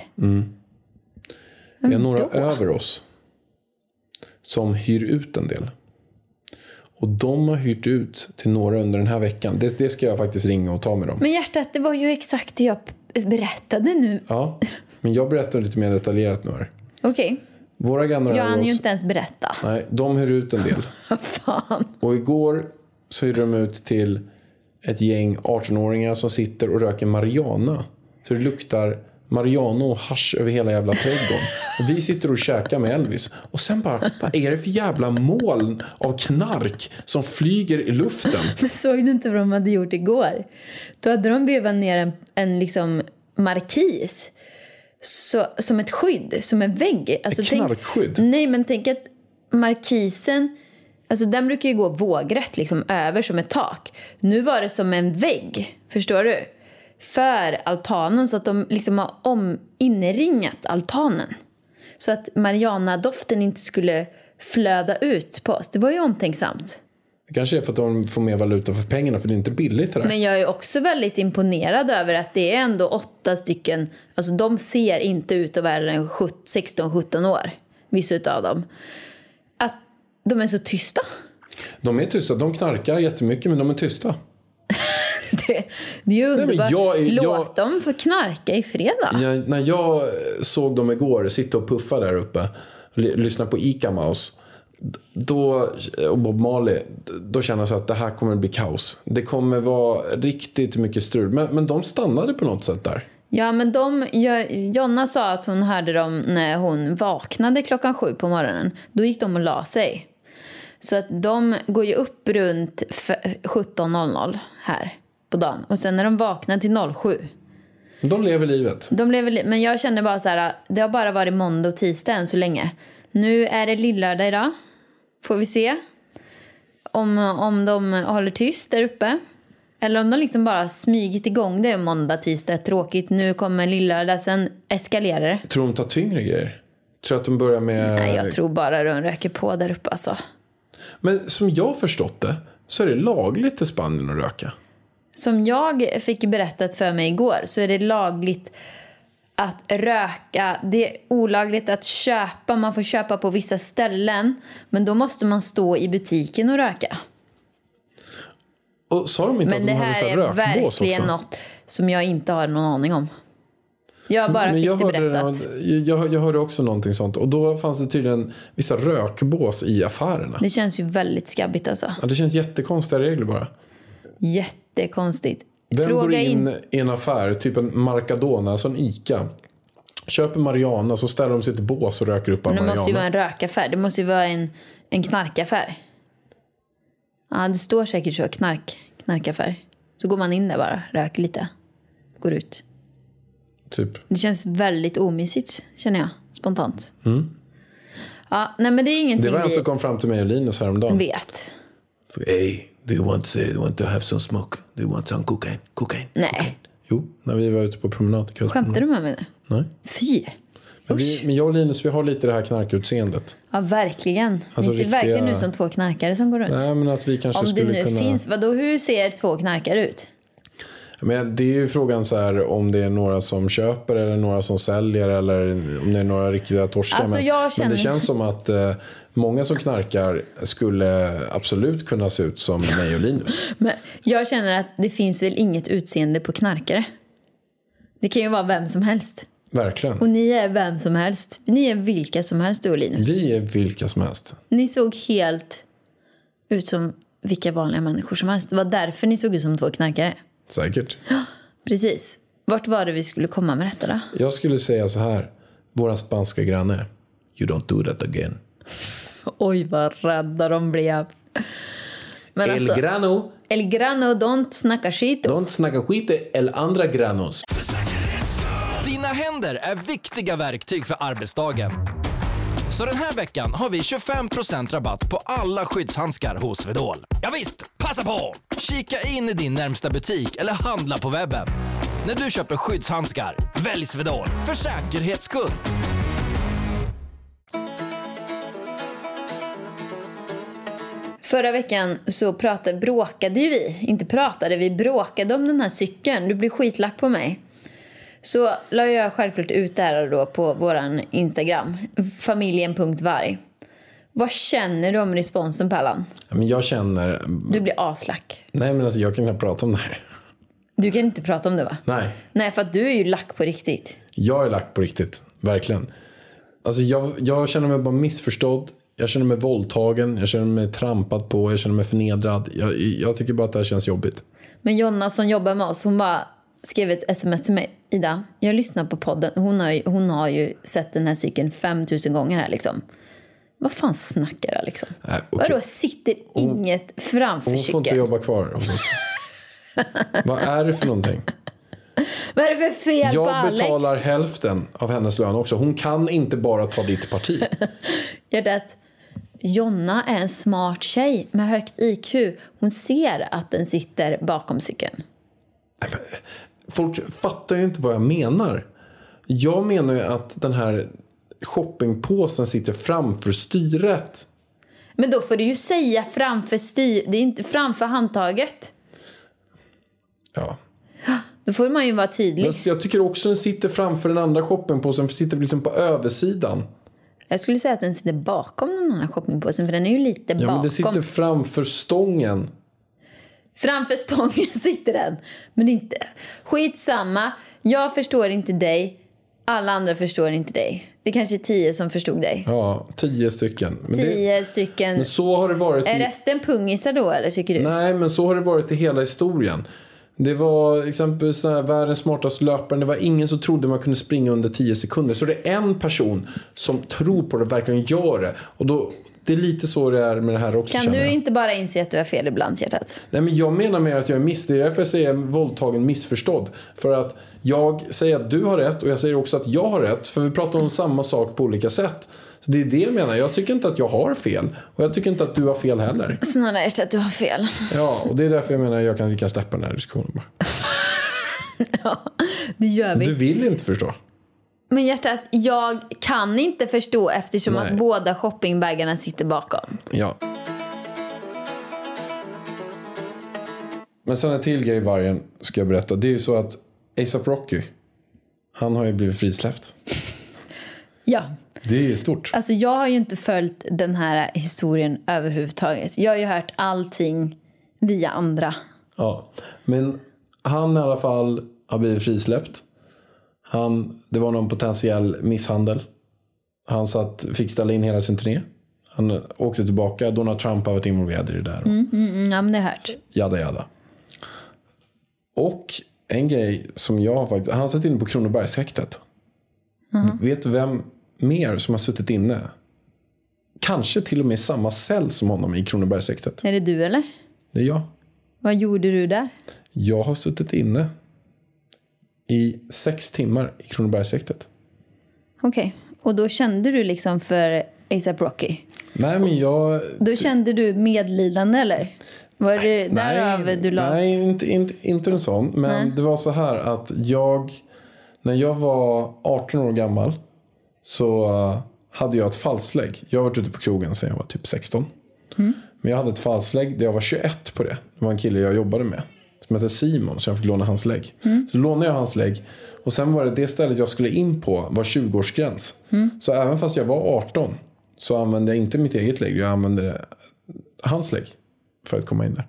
Det är några då? över oss som hyr ut en del. Och de har hyrt ut till några under den här veckan. Det, det ska jag faktiskt ringa och ta med dem. Men hjärtat, det var ju exakt det jag p- berättade nu. Ja, men jag berättar lite mer detaljerat nu här. Okej, Våra grannar jag över hann oss, ju inte ens berätta. *laughs* nej, de hyr ut en del. Fan. Och igår så hyrde de ut till ett gäng 18-åringar som sitter och röker marijuana. Så det luktar marijuana och hasch över hela jävla trädgården. Och vi sitter och käkar med Elvis. Och sen bara, vad är det för jävla moln av knark som flyger i luften? Men *laughs* såg du inte vad de hade gjort igår? Då hade de vevat ner en, en liksom markis. Så, som ett skydd, som en vägg. Alltså, Ett tänk- knarkskydd? Nej, men tänk att markisen, alltså den brukar ju gå vågrätt liksom över som ett tak. Nu var det som en vägg, förstår du? För altanen så att de liksom har om, inringat altanen. Så att Mariana-doften inte skulle flöda ut på oss. Det var ju omtänksamt. Det kanske är för att de får mer valuta för pengarna för det är inte billigt det där. Men jag är också väldigt imponerad över att det är ändå åtta stycken, alltså de ser inte ut att vara en 16-17 år, vissa utav dem. Att de är så tysta. *laughs* De är tysta, de knarkar jättemycket men de är tysta. Det, det är ju men underbart. jag är- jag- Låt dem få knarka i fredag. Jag, när jag såg dem igår sitta och puffa där uppe, ly- lyssna på Ica Mouse d- då, och Bob Marley, d- då kändes det att det här kommer bli kaos. Det kommer vara riktigt mycket strul. Men, men de stannade på något sätt där. Ja, men de, jag, Jonna sa att hon hörde dem när hon vaknade klockan sju på morgonen. Då gick de och la sig. Så att de går ju upp runt f- 17.00 här på dagen. Och sen när de vaknar till 07. De lever livet. De blev, väl- men jag känner bara så här, det har bara varit måndag och tisdag än så länge. Nu är det lillördag idag. Får vi se om, om de håller tyst där uppe. Eller om de liksom bara smygit igång det måndag, tisdag, tråkigt, nu kommer lillördag, sen eskalerar det. Tror de tar tyngre grejer? Tror att de börjar med... Nej, jag tror bara de röker på där uppe alltså. Men som jag förstått det så är det lagligt i Spanien att röka. Som jag fick berättat för mig igår så är det lagligt att röka. Det är olagligt att köpa. Man får köpa på vissa ställen. Men då måste man stå i butiken och röka. Och sa de inte Men att det de hade här så är här rökbås också? verkligen något som jag inte har någon aning om. Jag bara fick det hörde berättat. någon- jag, jag hörde också någonting sånt. Och då fanns det tydligen vissa rökbås i affärerna. Det känns ju väldigt skabbigt alltså. Ja, det känns jättekonstiga regler bara. Jättekonstigt. Vem går Fråga in in. i en affär, typ en Marcadona, alltså en ICA. Köper Mariana så ställer de sig i ett bås och röker upp all Det måste ju vara Mariana. en rökaffär. Det måste ju vara en, en knarkaffär. Ja, det står säkert så. Knark, knarkaffär. Så går man in där bara, röker lite, går ut. Typ. Det känns väldigt omysigt, känner jag. Spontant. Mm. Ja, nej men det är Det ingenting var vi en alltså- som kom fram till mig och Linus häromdagen. vet. Hey, do you want to, do you want to have some smoke? Do you want some cocaine? Cocaine. Nej, Jo, när vi var ute på promenad. skämtar du med mig nu? Nej. Fy! Men, vi, men jag och Linus, vi har lite det här knarkutseendet. Ja, verkligen. Alltså, Ni ser riktiga- verkligen ut som två knarkare som går runt. Nej, men att vi kanske Om det Alltså, skulle nu kunna... finns, vadå, hur ser två knarkare ut? Men det är ju frågan så här om det är några som köper eller några som säljer eller om det är några riktiga torskar. Alltså, men, jag men känner- det känns som att eh, många som knarkar skulle absolut kunna se ut som mig *laughs* och Linus. Men jag känner att det finns väl inget utseende på knarkare. Det kan ju vara vem som helst. Och Verkligen. ni är vem som helst. Ni är vilka som helst du och Linus. Vi är vilka som helst. Ni såg helt ut som vilka vanliga människor som helst. Det var därför ni såg ut som två knarkare. Säkert. Precis. Vart var det vi skulle komma med detta då? Jag skulle säga så här. Våra spanska granne. You don't do that again. Oj, vad rädda de blev. Men el alltså, grano. El Grano don't snacka skit. Don't snacka skit el andra granos. Dina händer är viktiga verktyg för arbetsdagen. Så den här veckan har vi 25% rabatt på alla skyddshandskar hos Swedol. Ja visst, passa på! Kika in i din närmsta butik eller handla på webben. När du köper skyddshandskar, välj Swedol för säkerhets skull. Förra veckan så pratade, bråkade ju vi, inte pratade, vi bråkade om den här cykeln. Du blir skitlack på mig. Så la jag självklart ut det här då på våran Instagram, familjen.varg. Vad känner du om responsen Pallan? Men jag känner... Du blir aslack. Nej men alltså jag kan knappt prata om det här. Du kan inte prata om det va? Nej. Nej, för att du är ju lack på riktigt. Jag är lack på riktigt. Verkligen. Alltså jag, jag känner mig bara missförstådd. Jag känner mig våldtagen. Jag känner mig trampad på. Jag känner mig förnedrad. Jag, jag tycker bara att det här känns jobbigt. Men Jonna som jobbar med oss, hon bara skrev ett sms till mig. Ida, jag lyssnar på podden. Hon har ju, hon har ju sett den här cykeln 5000 gånger här liksom. Vad fan snackar jag liksom? Nej, Äh, okej. Vadå, sitter inget framför Hon får inte cykeln? jobba kvar hos *laughs* oss. Vad är det för någonting? Vad är det för fel på Jag Alex? betalar hälften av hennes lön också. Hon kan inte bara ta *laughs* ditt parti. Hjärtat, Jonna är en smart tjej med högt IQ. Hon ser att den sitter bakom cykeln. Folk fattar ju inte vad jag menar. Jag menar ju att den här shoppingpåsen sitter framför styret. Men då får du ju säga framför styr... Det är inte framför handtaget. Ja. Då får man ju vara tydlig. Men jag tycker också den sitter framför den andra shoppingpåsen för sitter liksom på översidan. Jag skulle säga att den sitter bakom den andra shoppingpåsen för den är ju lite Ja, bakom. men det sitter framför stången. Framför stången *laughs* sitter den. Men inte... Skitsamma. Jag förstår inte dig. Alla andra förstår inte dig. Det kanske är tio som förstod dig. Ja, tio stycken. Men det- Tio stycken. men så har det varit Är i resten pungisar då eller tycker du? Nej, men så har det varit i hela historien. Det var exempelvis den här världens smartaste löparen. Det var ingen som trodde man kunde springa under 10 sekunder. Så det är en person som tror på det och verkligen gör det. Och då, det är lite så det är med det här också kan känner du jag. inte bara inse att du har fel ibland hjärtat? Nej, men jag menar mer att jag är miss. Det är därför jag säger våldtagen missförstådd. För att jag säger att du har rätt och jag säger också att jag har rätt. För vi pratar om samma sak på olika sätt. Så det är det jag menar. Jag tycker inte att jag har fel. Och jag tycker inte att du har fel heller. Snälla hjärtat, du har fel. *laughs* *laughs* Ja, och det är därför jag menar att jag kan, vi kan släppa den här diskussionen bara. Det gör vi. Du vill inte förstå. Men hjärtat, jag kan inte förstå eftersom Nej. att båda shoppingbagarna sitter bakom. Ja. Men sen en till grej vargen ska jag berätta. Det är ju så att ASAP Rocky, han har ju blivit frisläppt. Ja, Det är ju stort. Alltså jag har ju inte följt den här historien överhuvudtaget. Jag har ju hört allting via andra. Ja. Men han i alla fall har blivit frisläppt. Han, det var någon potentiell misshandel. Han satt, fick ställa in hela sin turné. Han åkte tillbaka. Donald Trump har varit involverad i det där. Mm, ja, men det har jag hört. Jada jada. Och en grej som jag har faktiskt... Han har suttit inne på Kronobergshäktet. Vet du vem mer som har suttit inne? Kanske till och med i samma cell som honom i Kronobergshäktet. Är det du eller? Det är jag. Vad gjorde du där? Jag har suttit inne i sex timmar i Kronobergshäktet. Okej. Och då kände du liksom för ASAP Rocky? Nej, men jag... Då kände du medlidande eller? Var det därav nej, du la... nej inte, inte, inte en sån. Men det var så här att jag, när jag var 18 år gammal så eh, hade jag ett falslägg. Jag har varit ute på krogen sedan jag Mm. var typ 16. Men jag hade ett falslägg där jag var 21 på det. Det var en kille jag jobbade med som hette Simon, så jag fick låna hans lägg. Mm. Så lånade jag hans lägg. Och sen var det det stället jag skulle in på var 20-årsgräns. Mm. Så även fast jag var 18 så använde jag inte mitt eget lägg. Jag använde hans lägg för att komma in där.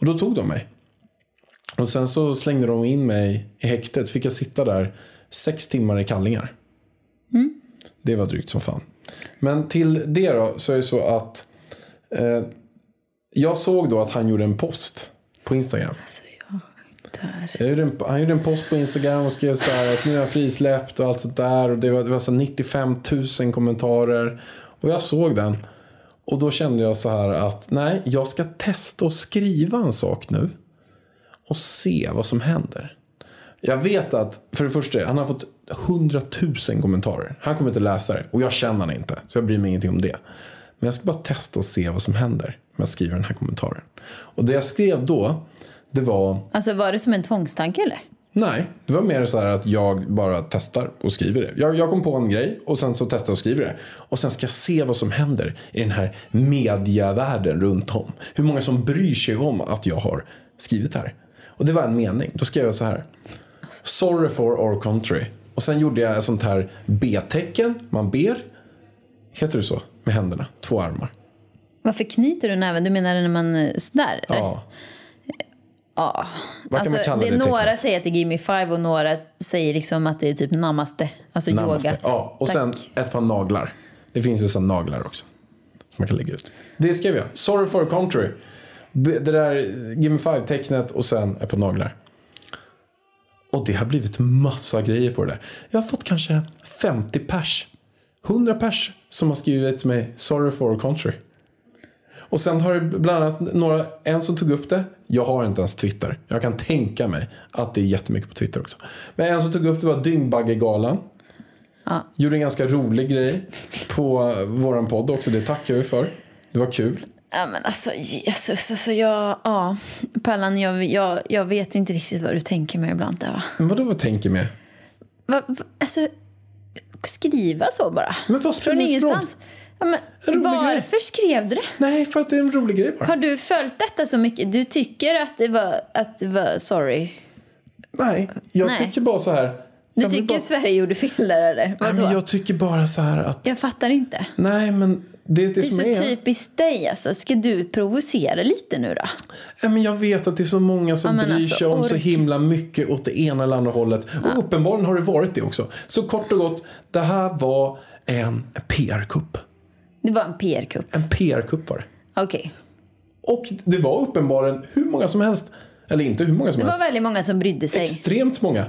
Och då tog de mig. Och sen så slängde de in mig i häktet. Så fick jag sitta där sex timmar i kallingar. Det var drygt som fan. Men till det då så är det så att eh, jag såg då att han gjorde en post på Instagram. Alltså jag dör. Jag gjorde en, han gjorde en post på Instagram och skrev så här att nu är jag frisläppt och allt sånt där. Och det var, det var så 95 000 kommentarer. Och jag såg den. Och då kände jag så här att nej, jag ska testa att skriva en sak nu. Och se vad som händer. Jag vet att, för det första, han har fått 100 000 kommentarer. Han kommer inte läsa det. Och jag känner han inte, så jag bryr mig ingenting om det. Men jag ska bara testa och se vad som händer när jag skriver den här kommentaren. Och det jag skrev då, det var Alltså var det som en tvångstanke eller? Nej, det var mer så här att jag bara testar och skriver det. Jag, jag kom på en grej och sen så testar jag och skriver det. Och sen ska jag se vad som händer i den här mediavärlden runt om. Hur många som bryr sig om att jag har skrivit det här. Och det var en mening. Då skrev jag så här. Sorry for our country. Och sen gjorde jag ett sånt här B-tecken. Man ber. Heter det så? Med händerna. Två armar. Varför knyter du näven? Du menar när man eh, sådär? eller? Ja. ja. kan man Alltså, kalla det det är några tecknet? säger att det är Gimme Five och några säger liksom att det är typ namaste. Alltså Namaste. yoga. Ja, och Tack. sen ett par naglar. Det finns ju sådana naglar också. Som man kan lägga ut. Det skrev jag. Sorry for country. B- Det där Gimme Five-tecknet och sen ett par naglar. Och det har blivit massa grejer på det där. Jag har fått kanske 50 pers. 100 pers som har skrivit till mig Sorry for country. Och sen har det bland annat några, en som tog upp det. Jag har inte ens Twitter. Jag kan tänka mig att det är jättemycket på Twitter också. Men en som tog upp det var Dyngbaggegalan. Gjorde en ganska rolig grej på våran podd också. Det tackar vi för. Det var kul. Ja men alltså Jesus, alltså jag, ja. Pallan, jag, jag, jag vet inte riktigt vad du tänker med ibland där va? Men vadå vad tänker med? va, va alltså, skriva så bara. Men vad spelar Från det för roll? ingenstans. Ja, men, rolig varför skrev du det? Nej, för att det är en rolig grej bara. Har du följt detta så mycket? Du tycker att det var, att det var sorry? Nej, jag Nej. tycker bara så här. Du jag vill tycker bara... Sverige gjorde fel där eller? Nej, Vadå? men jag... jag tycker bara så här att. fattar inte. Nej, men det är det, Det är som så typ- är. typiskt dig alltså. Ska du provocera lite nu då? Nej, men jag vet att det är så många som Ja, men bryr alltså, sig om så ork. himla mycket åt det ena eller andra hållet. Och uppenbarligen har det varit det också. Så kort och gott, det här var en PR-kupp. Det var en PR-kupp. En PR-kupp var det. Okej. Och det var uppenbarligen hur många som helst. Eller inte hur många som Det var helst. väldigt många som brydde sig. Extremt många.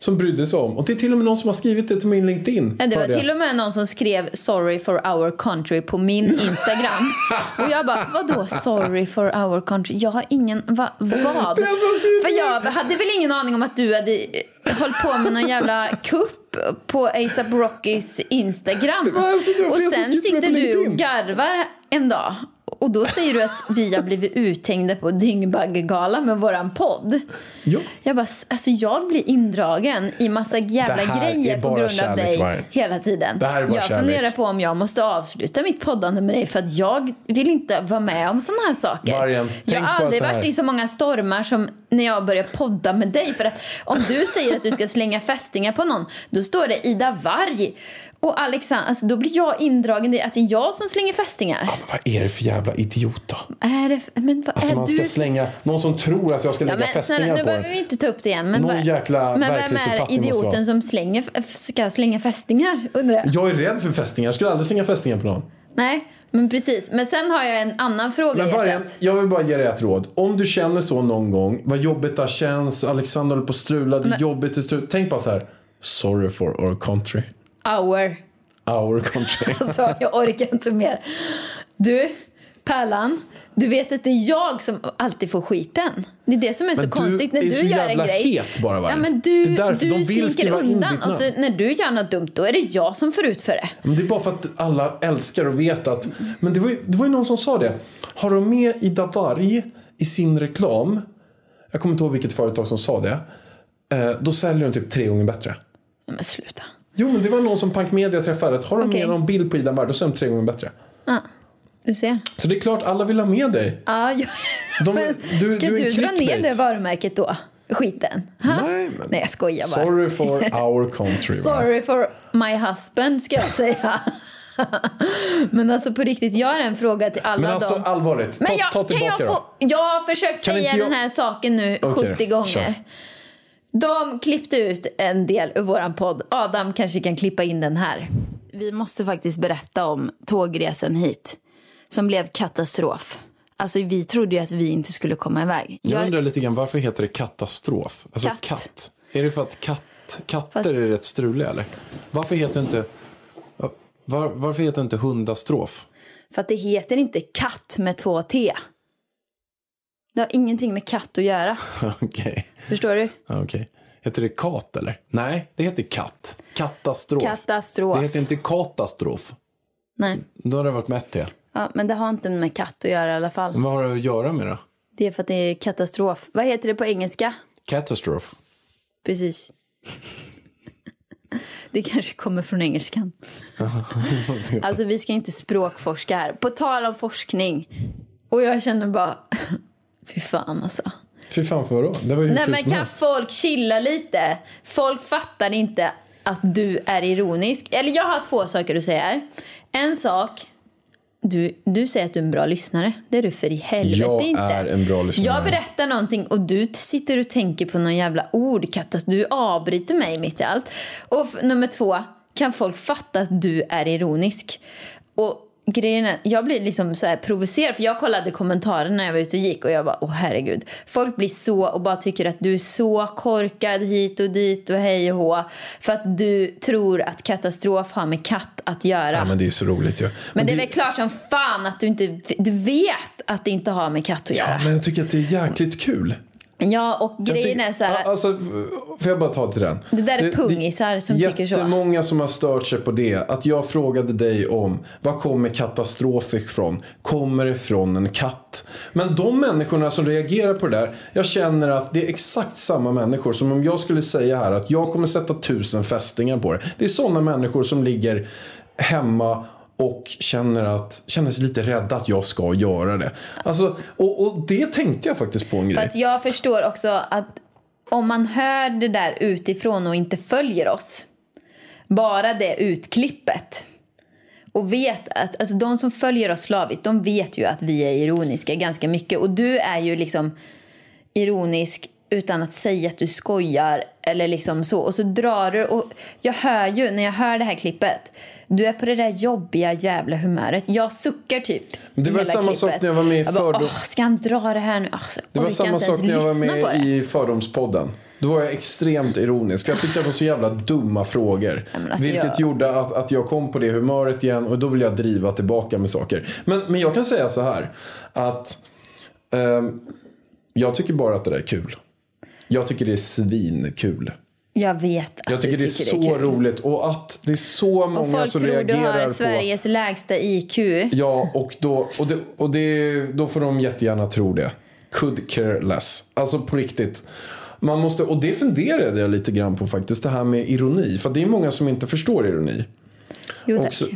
Som brydde sig om. Och det är till och med någon som har skrivit det till min LinkedIn. Ja, det var hörde jag. till och med någon som skrev “Sorry for our country” på min *laughs* Instagram. Och jag bara, vadå “Sorry for our country”? Jag har ingen, va, vad? Det är jag som har skrivit För jag det. hade väl ingen aning om att du hade eh, hållit på med någon jävla kupp på ASAP Rockys Instagram. var alltså det var och jag som sen skrev det på sitter du och LinkedIn. garvar en dag. Och då säger du att vi har blivit uthängda på Dyngbaggegalan med våran podd. Ja. Jag bara, s- alltså jag blir indragen i massa Det jävla här är grejer på bara grund av kärlek, dig Maren. hela tiden. Det här är bara jag kärlek. funderar på om jag måste avsluta mitt poddande med dig för att jag vill inte vara med om sådana här saker. Marian, jag tänk har bara aldrig så här. varit i så många stormar som när jag börjar podda med dig. För att om du säger att du ska slänga fästingar på någon, då står det Ida Varg och Alexander. Alltså, då blir jag indragen i att det är jag som slänger fästingar. Men vad är det för jävla idiot då? Är det, f- men vad Att är Alltså, man du ska för- slänga, någon som tror att jag ska Ja, lägga men fästingar snälla, nu på behöver den. vi inte ta upp det igen. Men, Någon vad- jäkla men vem är verklighetsuppfattning måste det idioten vara. som slänger, f- ska slänga fästingar? Undrar jag. Jag är rädd för fästingar, jag skulle aldrig slänga fästingar på någon. Nej, men precis. Men sen har jag en annan fråga Men i vargen, hjärtat. jag vill bara ge dig ett råd. Om du känner så någon gång, vad jobbigt det här känns, Alexander håller på att strula, det är jobbigt, det strul. Tänk bara så här. Sorry for our country. Hour. Our country. Alltså, jag orkar inte mer. Du, Pärlan. Du vet att det är jag som alltid får skiten. Det är det som är så Men du konstigt när är du så gör en jävla grej. het bara, Vargen. ja, men du, Det är därför de du vill slinker skriva in undan ditt och så namn. när du gör något dumt då är det jag som får ut för det. Men det är bara för att alla älskar och vet att... Men det var ju, det var ju någon som sa det. Har de med Ida Varg i sin reklam, jag kommer inte ihåg vilket företag som sa det, eh, då säljer de typ tre gånger bättre. Ja, Men sluta. Jo men det var någon som Punk Media träffade. att Har de Okej. med någon bild på Ida Varg, då säljer de tre gånger bättre. Du ser. Så det är klart alla vill ha med dig. Ja, jag, De, du, Ska du, du, är dra ner clickbait. det varumärket då? Skiten? Ha? Nej, men- Nej, jag skojar bara. *laughs* Sorry for our country. va? Sorry for my husband, ska jag säga. *laughs* Men alltså på riktigt, jag har en fråga till alla Men alltså dem. allvarligt, ta, Men jag, ta kan tillbaka jag, få, då. jag har försökt Kan säga inte jag- den här saken nu Okej, 70 gånger. kör. De klippte ut en del ur våran podd. Adam kanske kan klippa in den här. Vi måste faktiskt berätta om tågresan hit som blev katastrof. Alltså vi trodde ju att vi inte skulle komma iväg. Jag undrar lite grann, varför heter det katastrof? Alltså Katt. katt. Är det för att katt, katter är rätt struliga eller? Varför heter inte, var, varför heter inte hundastrof? För att det heter inte katt med två T. Det har ingenting med katt att göra. *laughs* Okej. Förstår du? Ja, Okej. Heter det kat eller? Nej, det heter katt. Katastrof. Katastrof. Det heter inte katastrof. Nej. Då har det varit med T. Ja, men det har inte med katt att göra i alla fall. Men Vad har det att göra med då? Det är för att det är katastrof. Vad heter det på engelska? Katastrof. Precis. *laughs* Det kanske kommer från engelskan. Alltså vi ska inte språkforska här. På tal om forskning. Och jag *laughs* känner bara, fy fan alltså. *laughs* Fy fan för vadå? Det var ju hur Nej kul men som kan helst. folk chilla lite? Folk fattar inte att du är ironisk. Eller jag har två saker du säger. En sak, du, du säger att du är en bra lyssnare. Det är du för i helvete Jag inte. är en bra lyssnare. Jag berättar någonting och du t- sitter och tänker på någon jävla ord. Kattas, du avbryter mig mitt i allt. Och f- nummer två, kan folk fatta att du är ironisk? Och grejen är, jag blir liksom så här provocerad för jag kollade kommentarerna när jag var ute och gick och jag bara åh herregud. Folk blir så och bara tycker att du är så korkad hit och dit och hej och hå. För att du tror att katastrof har med katt att göra. Ja, men... men det är så roligt ju. Ja. det är väl klart som fan att du inte du vet att det inte har med katt att göra. Men jag tycker att det är jäkligt kul. Ja, och Jag grejen tycker- är så här. Ja, Alltså, får jag bara ta till den? Det där är pungisar som tycker så. Jättemånga som har stört sig på det. Att jag frågade dig om vad kommer katastrof ifrån? Kommer det från en katt? Men de människorna som reagerar på det där. Jag känner att det är exakt samma människor som om jag skulle säga här att jag kommer sätta tusen fästingar på det. Det är sådana människor som ligger hemma och känner, att, känner sig lite rädda att jag ska göra det. Alltså, och, och det tänkte jag faktiskt på en grej. Fast jag förstår också att om man hör det där utifrån och inte följer oss, bara det utklippet och vet att, alltså de som följer oss slaviskt, de vet ju att vi är ironiska ganska mycket och du är ju liksom ironisk utan att säga att du skojar eller liksom så. Och så drar du och jag hör ju när jag hör det här klippet. Du är på det där jobbiga jävla humöret. Jag suckar typ. Det var hela samma sak när jag var med i bara, Fördom- "Åh, Ah, Ska han dra det här nu? Åh, så Det var orkar samma inte ens sak när jag var lyssna på med det. i Fördomspodden. Då var jag extremt ironisk. för Jag tyckte det var så jävla dumma frågor. men alltså vilket jag- gjorde att, att jag kom på det humöret igen och då vill jag driva tillbaka med saker. Men, men jag kan säga så här. Att ehm, jag tycker bara att det där är kul. Jag tycker det är svinkul. Jag vet att Jag tycker, du det är så kul. roligt. Och att det är så Och många folk som tror du reagerar har på... Sveriges lägsta IQ. Ja, och, då, och, det, och det, då får de jättegärna tro det. Could care less. Alltså på riktigt. Man måste, och det funderade jag lite grann på faktiskt. Det här med ironi. För det är många som inte förstår ironi. Jo Och tack. så,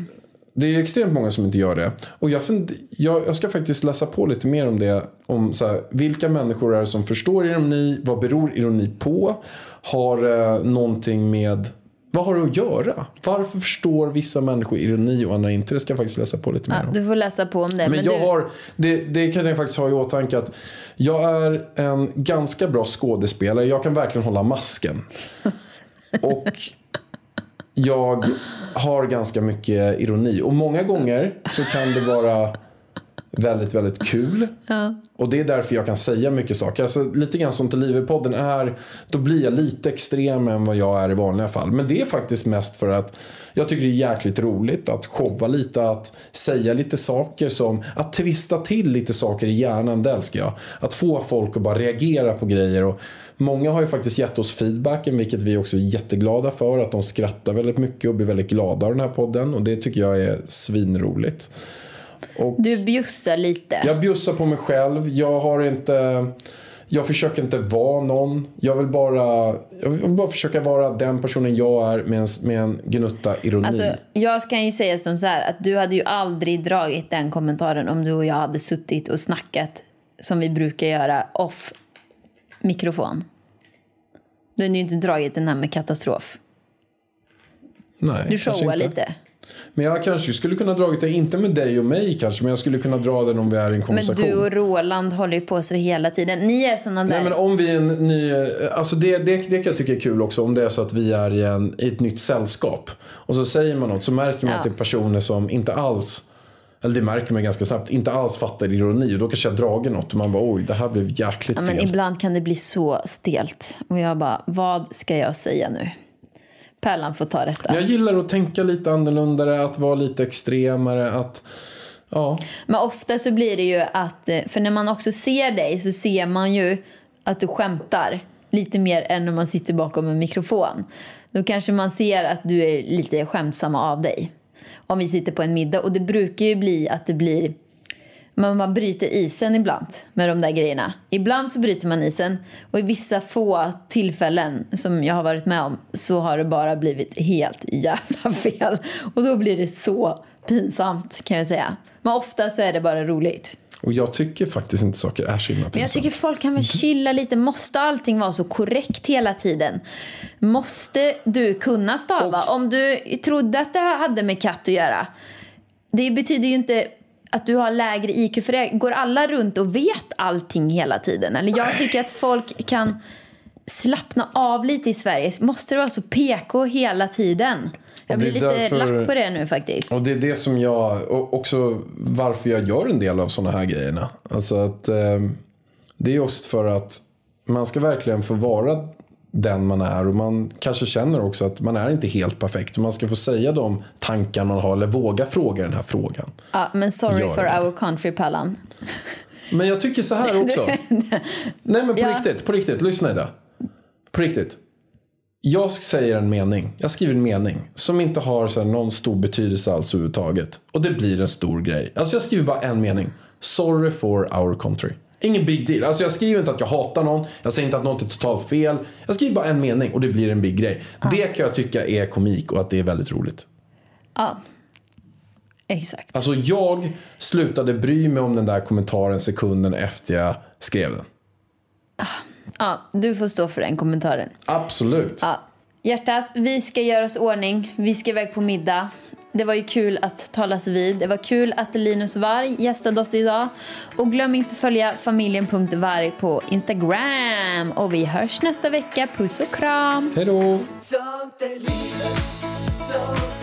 det är extremt många som inte gör det. Och jag, fund, jag, jag ska faktiskt läsa på lite mer om det. Om så här, vilka människor är det som förstår ironi? Vad beror ironi på? Har eh, någonting med... Vad har det att göra? Varför förstår vissa människor ironi och andra inte? Det ska jag faktiskt läsa på lite mer om. Du får läsa på om det. Men, jag du... har, det, det kan jag faktiskt ha i åtanke att jag är en ganska bra skådespelare. Jag kan verkligen *laughs* hålla masken. Och jag har ganska mycket ironi. Och många gånger så kan det vara väldigt, väldigt kul. Och det är därför jag kan säga mycket saker. Alltså, lite grann som Telive-podden är, då blir jag lite extremare än vad jag är i vanliga fall. Men det är faktiskt mest för att jag tycker det är jäkligt roligt att showa lite, att säga lite saker som, att twista till lite saker i hjärnan, det älskar jag. Att få folk att bara reagera på grejer. Och många har ju faktiskt gett oss feedbacken, vilket vi också är jätteglada för. Att de skrattar väldigt mycket och blir väldigt glada av den här podden. Och det tycker jag är svinroligt. du bjussar lite. Jag bjussar på mig själv. Jag har inte... Jag försöker inte vara någon. Jag vill bara, jag vill bara försöka vara den personen jag är med en, med en gnutta ironi. Alltså, jag kan ju säga som så här att du hade ju aldrig dragit den kommentaren om du och jag hade suttit och snackat som vi brukar göra off mikrofon. Du har ju inte dragit den här med katastrof. Nej, Du kanske showar inte. lite. Men jag kanske skulle kunna dra det, inte med dig och mig kanske, men jag skulle kunna dra den om vi är i en Men konversation. du och Roland håller ju på så hela tiden. Ni är såna där. Nej, men om vi är en ny, alltså det, det, det kan jag tycka är kul också om det är så att vi är i, en, i ett nytt sällskap. Och så säger man något så märker man Ja. att det är personer som inte alls, eller det märker man ganska snabbt, inte alls fattar ironi. Och då kanske jag drager något och man bara oj, det här blev jäkligt Ja, fel. men ibland kan det bli så stelt. Och jag bara, vad ska jag säga nu? Pärlan får ta detta. Men Jag gillar att tänka lite annorlunda, att vara lite extremare, att ja. Men ofta så blir det ju att, eh, för när man också ser dig så ser man ju att du skämtar lite mer än när man sitter bakom en mikrofon. Då kanske man ser att du är lite skämtsamma av dig. Om vi sitter på en middag och det brukar ju bli att det blir man, man bryter isen ibland med de där grejerna. Ibland så bryter man isen och i vissa få tillfällen som jag har varit med om så har det bara blivit helt jävla *laughs* fel. Och då blir det så pinsamt kan jag säga. Men ofta så är det bara roligt. Och jag tycker faktiskt inte saker är så himla Men jag pinsamt. tycker folk kan Mm. väl chilla lite. Måste allting vara så korrekt hela tiden? Måste du kunna stava? Om du trodde att det här hade med katt att göra. Det betyder ju inte att du har lägre IQ för det. Går alla runt och vet allting hela tiden? Eller jag tycker att folk kan slappna av lite i Sverige. Måste det vara så PK hela tiden? Jag Och det blir är lite därför- lack på det nu faktiskt. Och det är det som jag, och också varför jag gör en del av sådana här grejerna. Alltså att eh, det är just för att man ska verkligen få vara den man är och man kanske känner också att man är inte helt perfekt. Och man ska få säga de tankar man har eller våga fråga den här frågan. Ja, men sorry Gör for det. our country, Pallan. Men jag tycker så här också. Nej men på riktigt, på riktigt. Lyssna Ida. På riktigt. Jag säger en mening. Jag skriver en mening som inte har så här, någon stor betydelse alls överhuvudtaget. Och det blir en stor grej. Alltså jag skriver bara en mening. Sorry for our country. Ingen big deal. Alltså jag skriver inte att jag hatar någon. Jag säger inte att något är totalt fel. Jag skriver bara en mening och det blir en big grej. Det kan jag tycka är komik och att det är väldigt roligt. Ja, exakt. Alltså jag slutade bry mig om den där kommentaren sekunden efter jag skrev den. Ja, du får stå för den kommentaren. Absolut. Ja. Hjärtat, vi ska göra oss ordning. Vi ska iväg på middag. Det var ju kul att talas vid. Det var kul att Linus Varg gästade oss idag. Och glöm inte följa familjen.varg på Instagram. Och vi hörs nästa vecka. Puss och kram! Hej då! Sånt är livet, sånt